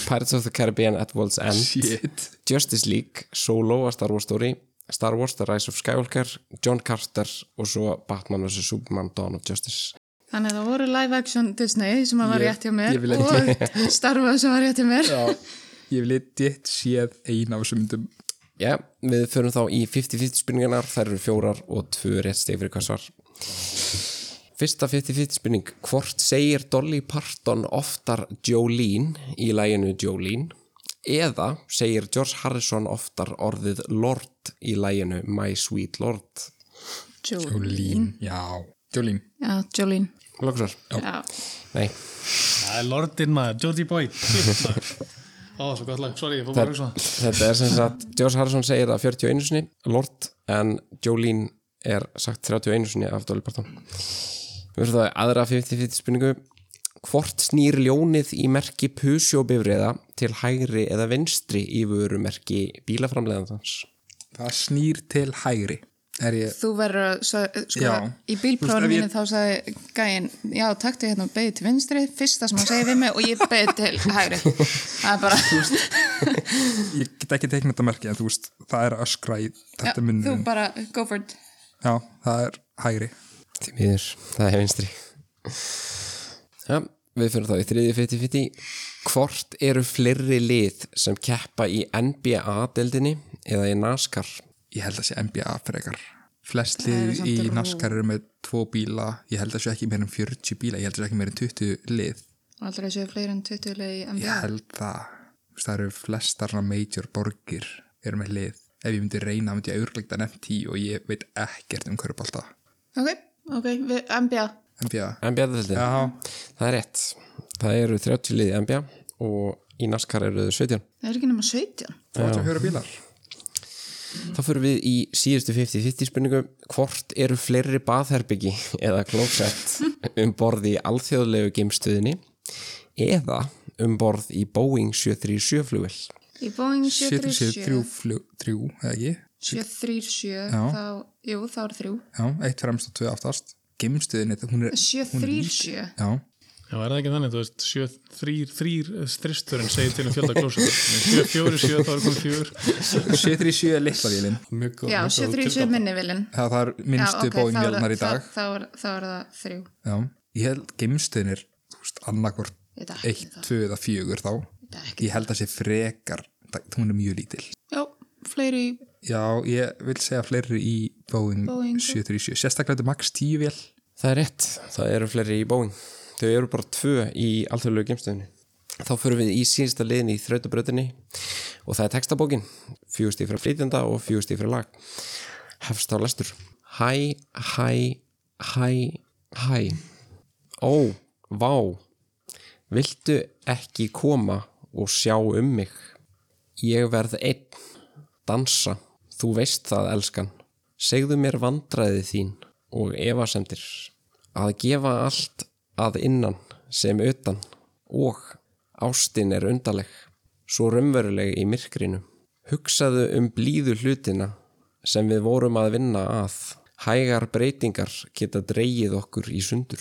S1: Pirates of the Caribbean at World's End
S3: Shit
S1: Justice League, Solo að Star Wars Story Star Wars The Rise of Skywalker John Carter og svo Batman vs. Superman Dawn of Justice
S2: Þannig að það voru live action Disney sem að var
S3: Ég-
S2: rétt hjá
S3: ég
S2: mér
S3: vil
S2: og
S3: ekki.
S2: Star Wars sem var rétt hjá mér.
S3: Já, ég vil eitt séð eina af þessum myndum
S1: Já, við förum þá í 50-50 spurningarnar þær eru fjórar og tvö rétt steg fyrir hvað svar Fyrsta 50-50 spurning Hvort segir Dolly Parton oftar Jolene í læginu Jolene eða segir George Harrison oftar orðið Lord í læginu My Sweet Lord
S2: Jolene.
S3: Lín, já Jolín
S2: Já, Jolene.
S1: Lóksar?
S2: Já.
S1: Nei
S4: Það er lordin maður, Georgie Boy Ó, svo gott lag, sorry, ég fór bara að hugsa
S1: Þetta er sem sagt, George Harrison segir það 41 sinni, Lord, en Jolene er sagt 31 sinni af Dolly Parton. Við verðum það í aðra 50-50 spurningu. Hvort snýr ljónið í merki pusjóbifriða til hægri eða vinstri í vörumerki bílaframleðandans?
S3: Það snýr til hægri Er ég
S2: Þú verður að, sa- sko,
S3: Já.
S2: í
S3: Þú
S2: bílprófinu
S3: veist, ef
S2: mínu þá sagði gæinn, já, taktu hérna og beigði til vinstri, fyrsta sem hann segi við mig og ég beigði til hægri. Það er bara,
S3: ég get ekki teikna þetta merki en þú veist, það er að öskra í
S2: já,
S3: þetta
S2: þú
S3: munnurinn
S2: bara go for it.
S3: Já, það er hægri
S1: Því miður, það er vinstri. Ja, við fyrir þá í þriði 50-50. Hvort eru fleiri lið sem keppa í NBA-deldinni eða í NASCAR?
S3: Ég held að sé NBA frekar Flest
S2: eru
S3: lið
S2: samt
S3: í
S2: rú.
S3: naskar eru með tvo bíla Ég held að sé ekki meir en 40 bíla Ég held að sé ekki meir en 20 lið
S2: Og aldrei séu fleiri en 20 leið í
S3: Ég
S2: NBA.
S3: held það Þú veist, Það eru flestar svona major borgir eru með lið Ef ég myndi reyna, myndi ég auðvitað nefn 10 og ég veit ekkert um hverju bólta
S2: Ok, ok, við, NBA.
S3: NBA
S1: NBA-deldin?
S3: Já,
S1: Það er rétt. Það eru 30 liði í NBA og í NASCAR eru þau 17.
S2: Það er ekki nema 17.
S3: 34 bílar
S1: Þá fyrir við í síðustu 50-50 spurningu hvort eru fleiri baðherbyggi eða klósett um borð í alþjóðlegu geimstöðinni eða um borð í Boeing 737 flugvel.
S2: Í Boeing
S3: 73
S2: 737,
S3: flug- þrjú, eða ekki
S2: 737
S3: Já.
S2: þá, jú, þá er þrjú.
S3: Já, eitt fremst og tvö aftast Gimstuðin, hún er
S2: 737.
S3: Já,
S4: Já, er það ekki þannig, þú veist, sjö, þrýr, þrýr þristurinn segir til um fjölda klósa Sjö, fjóri, sjö, þá er komið fjör
S3: 737 er litla vélinn
S5: Mjög góð-
S2: Já,
S5: mjög góð
S2: 737
S5: tilgáta.
S2: minni vilin.
S3: Það, það er minnstu okay, bóin í dag
S2: Þá, þá, er, þá er það þrjú.
S3: Já, ég held gimstuðin er þú veist, annarkvort
S2: Ég veit ekki
S3: 1,
S2: það.
S3: 2 eða 4 þá
S2: veit ekki
S3: Ég held að sé frekar það- hún er mjög lítil
S2: Já, fleiri í
S3: Já, ég vil segja fleiri í Boeing,
S2: Boeing.
S3: 737 Sérstaklega þetta er Max 10 vél
S1: Það er rétt. Það eru fleiri í Boeing. Þau eru bara tvö í alþjóðlegu geimstöðinni. Þá fyrir við í síðasta liðin í þrautabröðinni og það er textabókin. Fjögustíð fyrir flytjanda og fjögustíð fyrir lag. Hefst á lestur. Hæ, hæ, hæ, hæ Ó, vá Viltu ekki koma og sjá um mig? Ég verð einn Dansa, þú veist það, elskan Segðu mér vandræði þín og efasemdir Að gefa allt að innan sem utan Og ástin er undaleg Svo raunveruleg í myrkrinu Hugsaðu um blíðu hlutina sem við vorum að vinna að hægar breytingar geta dreigið okkur í sundur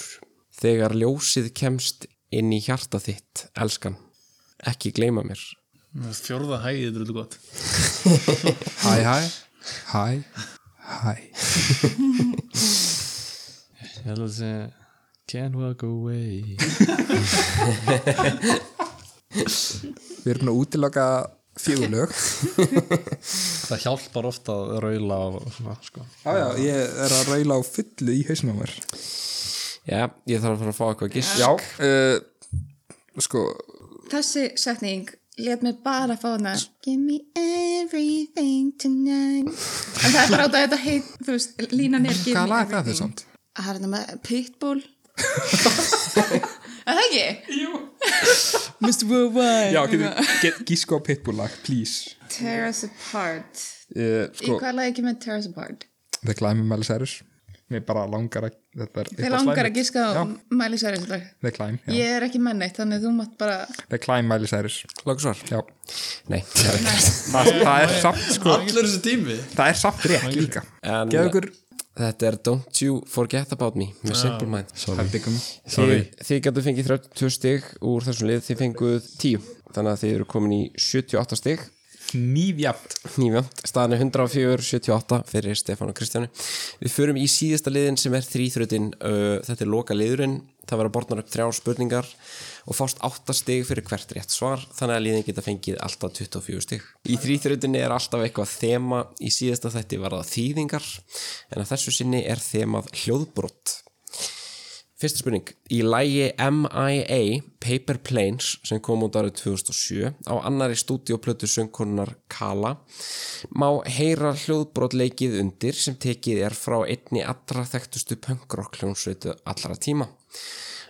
S1: þegar ljósið kemst inn í hjarta þitt, elskan ekki gleyma mér
S4: Fjórða hæðið er þetta gott
S3: Hæ, hæ, hæ, hæ
S5: Ég held að það sé Can't walk away
S3: Við erum nú útiloka fjögulög
S5: Það hjálpar ofta að raula og svona, sko.
S3: Já, já, ég er að raula á fullu í hausnum á mér
S1: já, ég þarf að fara að fá eitthvað gist
S3: Já, uh, sko
S2: Þessi setning let mig bara fá hana Give me everything tonight En það er bara út að þetta heit þú veist, línan er give
S3: Hvaða
S2: me
S3: lag er það þau
S2: everything
S3: samt?
S2: Það er þetta með Pitbull Er það ekki?
S3: Mr.
S2: Eh,
S3: Worldwide Já, getur
S2: hérna.
S3: get, gísku á Pitbull lag, please
S2: Tear us apart
S3: uh,
S2: Í
S3: Sko,
S2: hvað lagi kemur Tear us apart?
S3: The Climb Mæli Særus Mér bara langar að Þetta er
S2: Þið
S3: eitthvað
S2: langar
S3: slæmið.
S2: að gíska á
S3: Já,
S2: Miley Cyrus í dag
S3: The Climb, já
S2: Ég er ekki menn eitt, þannig þú mátt bara
S3: The Climb Mæli Særus
S1: Lóksvar?
S3: Já,
S1: Nei, já.
S3: það, það er samt, sko
S4: Allir þessi tími
S3: Það er samt rétt líka
S1: En-
S3: Geðu ykkur
S1: þetta er Don't You Forget About Me með Simple Mind
S3: Heldigum
S1: Þið, þið getur fengið 32 stig úr þessum lið, þið fenguð 10 þannig að þið eru komin í 78 stig
S3: Nýfjamt
S1: nýfjönd, staðan er 104, 78 fyrir Stefán og Kristjáni við förum í síðasta liðin sem er þrýþrötin uh, þetta er loka liðurinn, það verður borðnar upp þrjár spurningar og fást 8 stig fyrir hvert rétt svar, þannig að liðin geta fengið alltaf 24 stig í þrýþrötinni er alltaf eitthvað þema í síðasta þætti var það þýðingar en að þessu sinni er þemað hljóðbrott Fyrsta spurning. Í lægi M.I.A. Paper Planes sem kom út árið 2007 á annari stúdíoplötu söngkonunar Kala má heyra hljóðbrotleikið undir sem tekið er frá einni allra þekktustu punkrock hljónsveitu allra tíma.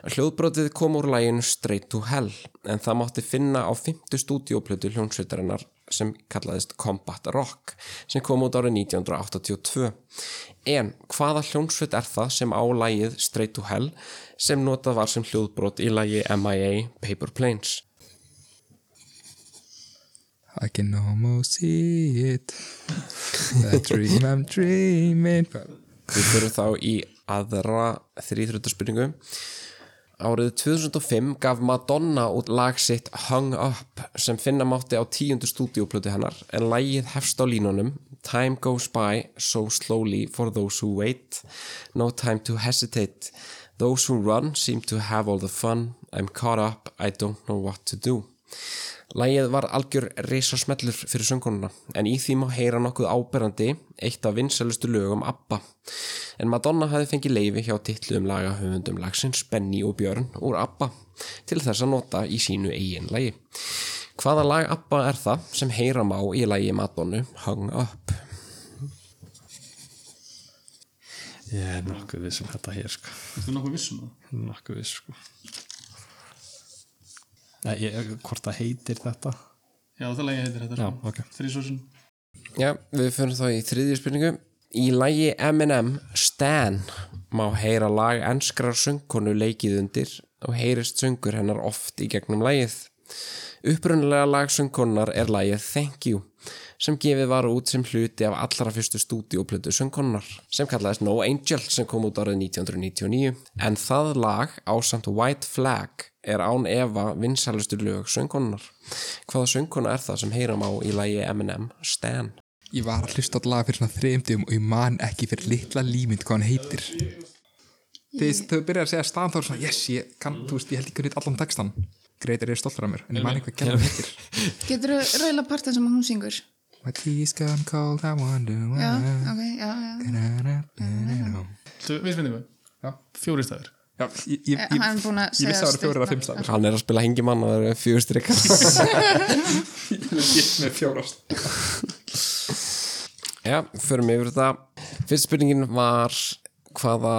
S1: Hljóðbrotið kom úr læginu Straight to Hell en það mátti finna á fymtu stúdíoplötu hljónsveitarinnar sem kallaðist Combat Rock sem kom út árið 1982. En hvaða hljónsveit er það sem á lægið Straight to Hell sem notað var sem hljóðbrot í lægi MIA Paper Planes?
S3: I can almost see it That dream I'm dreaming
S1: Við fyrir þá í aðra þrýþrjóttarspurningu. Árið 2005 gaf Madonna út lag sitt Hung Up sem finna mátti á tíundu stúdíoplötu hennar en lagið hefst á línunum Time goes by so slowly for those who wait No time to hesitate Those who run seem to have all the fun I'm caught up, I don't know what to do Lægið var algjör reysasmellur fyrir söngununa en í því má heyra nokkuð áberandi eitt af vinsælustu lögum ABBA en Madonna hafði fengið leifi hjá titluðum laga höfundum lagsins Benny og Björn úr ABBA til þess að nota í sínu eigin lægi. Hvaða lag ABBA er það sem heyra má í lægi Madonnu Hung Up?
S5: Ég er nokkuð við sem þetta hér sko.
S4: Þú nokkuð vissum það
S5: Nokkuð við sko. Nei, ég, hvort það heitir þetta
S4: Já, það lagi heitir þetta sko.
S5: Já, ok.
S4: Þrísósin
S1: Já, við fyrir þá í þriðju spurningu. Í lægi M&M Stan má heyra lag enskrar söngkonu leikið undir og heyrist söngur hennar oft í gegnum lægið. Upprunnilega lag söngkonunnar er lægið Thank You sem gefið var út sem hluti af allra fyrstu stúdíoplötu söngkonunnar sem kallaðist No Angel sem kom út árið 1999 en það lag ásamt White Flag er án efa vinsælustu lög söngkonunnar. Hvaða söngkona er það sem heyra má í lægi M&M Stan?
S3: Ég var að hlusta á laga fyrir svona þreymdum og ég man ekki fyrir litla límynd hvað hann heitir Þegar þau byrja að segja staðan þá er svona yes, ég kann, þú veist, ég held ekki að hitt allan textan Greitar er stoltur af mér, en ég man eitthvað gæmur heitir
S2: Getur þú raula partin sem hún syngur?
S3: My tea's gone cold, I wonder
S2: Já,
S3: why
S2: ok, já, já
S3: Na-na-na-na-na.
S4: Þú vissmyndingu
S3: Já.
S4: Fjóri stafir
S3: Já, ég, ég, ég,
S2: Eh, Hann er búin að
S3: ég vissi að það
S2: segja
S3: eru fjórir að
S2: stutt
S3: fimm
S2: nafn.
S3: staðar
S1: Hann er að spila hengimann og það eru fjögur strikka
S3: Ég er með fjórast
S1: Já, förum yfir þetta Fyrst spurningin var hvaða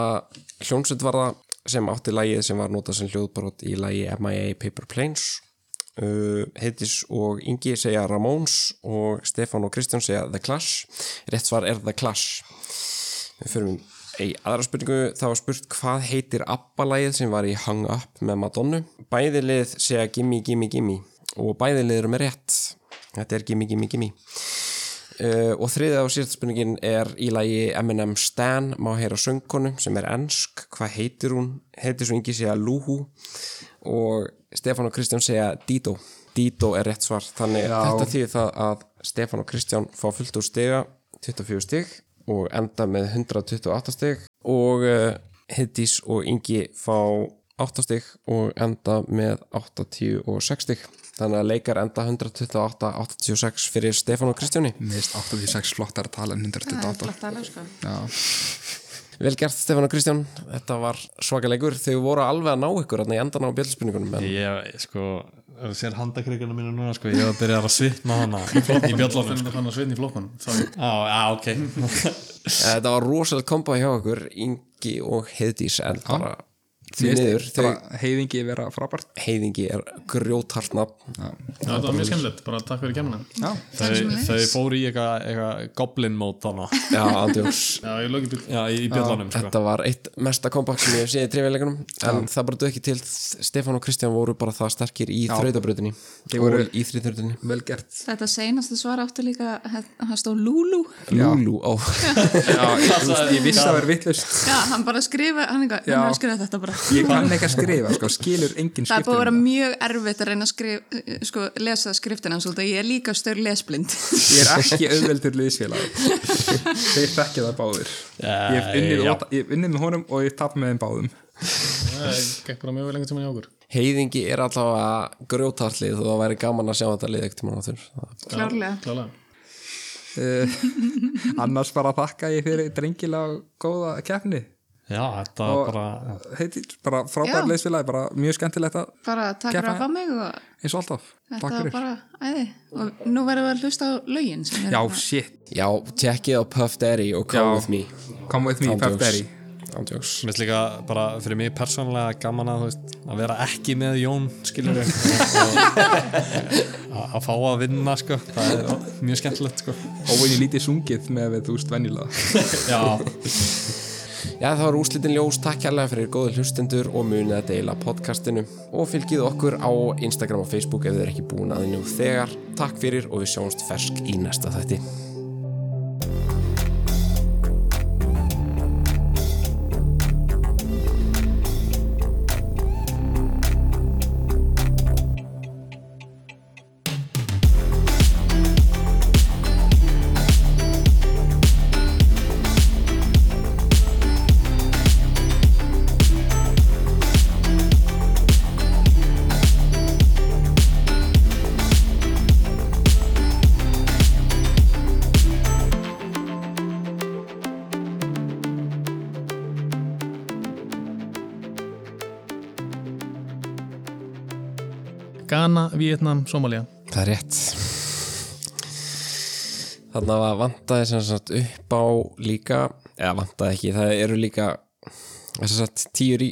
S1: hljómsveit var það sem átti lægið sem var notað sem hljóðbrot í lægi MIA Paper Planes uh, heitis og Ingi segja Ramones og Stefán og Kristján segja The Clash rétt svar er The Clash Við förum í aðra spurningu það var spurt hvað heitir ABBA-lægið sem var í Hung Up með Madonnu bæði lið segja Gimme Gimme Gimme og bæði lið eru með rétt þetta er Gimme Gimme Gimme Uh, og þriðið á síðast spurningin er í lagi Eminem Stan, má heyra söngkonu sem er ensk, hvað heitir hún heitir svo yngi segja Lúhú og Stefán og Kristján segja Dito, Dito er rétt svar þannig
S3: Já.
S1: þetta þýðir það að Stefán og Kristján fá fullt úr stiga 24 stig og enda með 128 stig og uh, Hiddís og Ingi fá 8 stig og enda með 86 stig þannig að leikar enda 128-86 fyrir Stefán og Kristjáni
S3: Mist 86 flottar tala en
S2: Það er
S3: 128
S2: flott aðlega sko.
S3: Já,
S1: Vel gert Stefán og Kristján, þetta var svaka leikur þau voru alveg að ná ykkur þarna í endan á bjöldspunningunum en
S5: Ég, sko, ef þú sér handakrikana mínu núna, sko, ég var að byrja að svitna hana í bjöllunum,
S4: Þannig að fann að sveitn í flokkunum Sorry.
S5: Á, á, ok.
S1: þetta var rosalega kompa hjá ykkur Ingi og Hiddís en bara því miður þau
S3: bara heiðingi vera frábært
S1: heiðingi er grjótart nafn
S4: Já, þetta var mjög skemmtilegt, bara takk fyrir kemuna
S3: Já,
S5: Þau, þau fóru í eitthvað eitthva goblin mót hana
S1: já, andjóks
S4: Já, ég loki bíl
S5: já, í, í bjöllunum, sko.
S1: Þetta var eitt mesta kompakt sem ég hef séð í trefjarleikunum en það bara döð ekki til Stefán og Kristján voru bara það sterkir í þrautabröðinni
S3: Þeir
S1: og
S3: voru-
S1: í þriðþrautabröðinni
S3: vel gert
S2: Þetta seinasta svar áttu líka hann stóð Lulu
S1: Lúlú á
S3: Já, ég, þú veist, ég vissi að vera vittlust
S2: Já, hann bara skrifa, hann, eitthvað,
S3: Já.
S2: hann er að skrifa þetta bara
S3: Ég kann ekki að skrifa, sko, skilur engin um
S2: Það er búið að
S3: skriftir
S2: vera mjög erfitt að reyna að skrif, sko, lesa skriftina hans út að ég er líka stöður lesblind.
S3: Ég er ekki auðveldur liðsfélag Þeir þekkja það báðir Ég hef unnið,
S5: já.
S3: og- ég hef unnið með honum og ég tap með þeim báðum
S4: Það gekk bara mjög vel lengur tíma hjá okkur
S1: Heiðingi er allavega grjótartlið og það væri gaman að sjá þetta lið ekkert tíma áttur
S2: Klárlega.
S4: Klálega
S3: uh, Annars bara þakka ég fyrir drengilega góða keppni
S5: Já, þetta
S3: Og-
S5: var bara,
S3: heiti, bara frábært
S2: Já.
S3: liðsfélagi, bara mjög skemmtilegt að-
S2: Bara takk fyrir
S3: Keppa-
S2: að fá mig og
S3: eins og alltaf,
S2: þetta
S3: takk
S2: var
S3: fyrir
S2: bara æði. Og nú verðum við að hlusta á lögin sem er hérna.
S3: Já, shit,
S1: Já, tekkið á Puff Daddy og Come
S3: Já.
S1: With Me
S3: come with me, Pep
S1: Andjóks.
S3: Berry
S1: Andjóks
S5: mér finnst líka bara fyrir mig persónlega gaman að, þú veist, að vera ekki með Jón, skilur við. Og- að að fá að vinna, sko. Það er mjög skemmtilegt, sko.
S3: Óvinni lítið sungið með við, þú veist, venjulega
S5: Já,
S1: Já, það var úslitin ljós, takk hérlega fyrir góðu hlustendur og munið að deila podcastinu og fylgið okkur á Instagram og Facebook ef þið er ekki búin að þið nú þegar Takk fyrir og við sjáumst fersk í næsta þætti
S4: Ghana, Vietnam, Somalia
S1: Það er rétt Þarna var vantaði sem sagt upp á líka eða vantaði ekki, það eru líka sem sagt tíu rí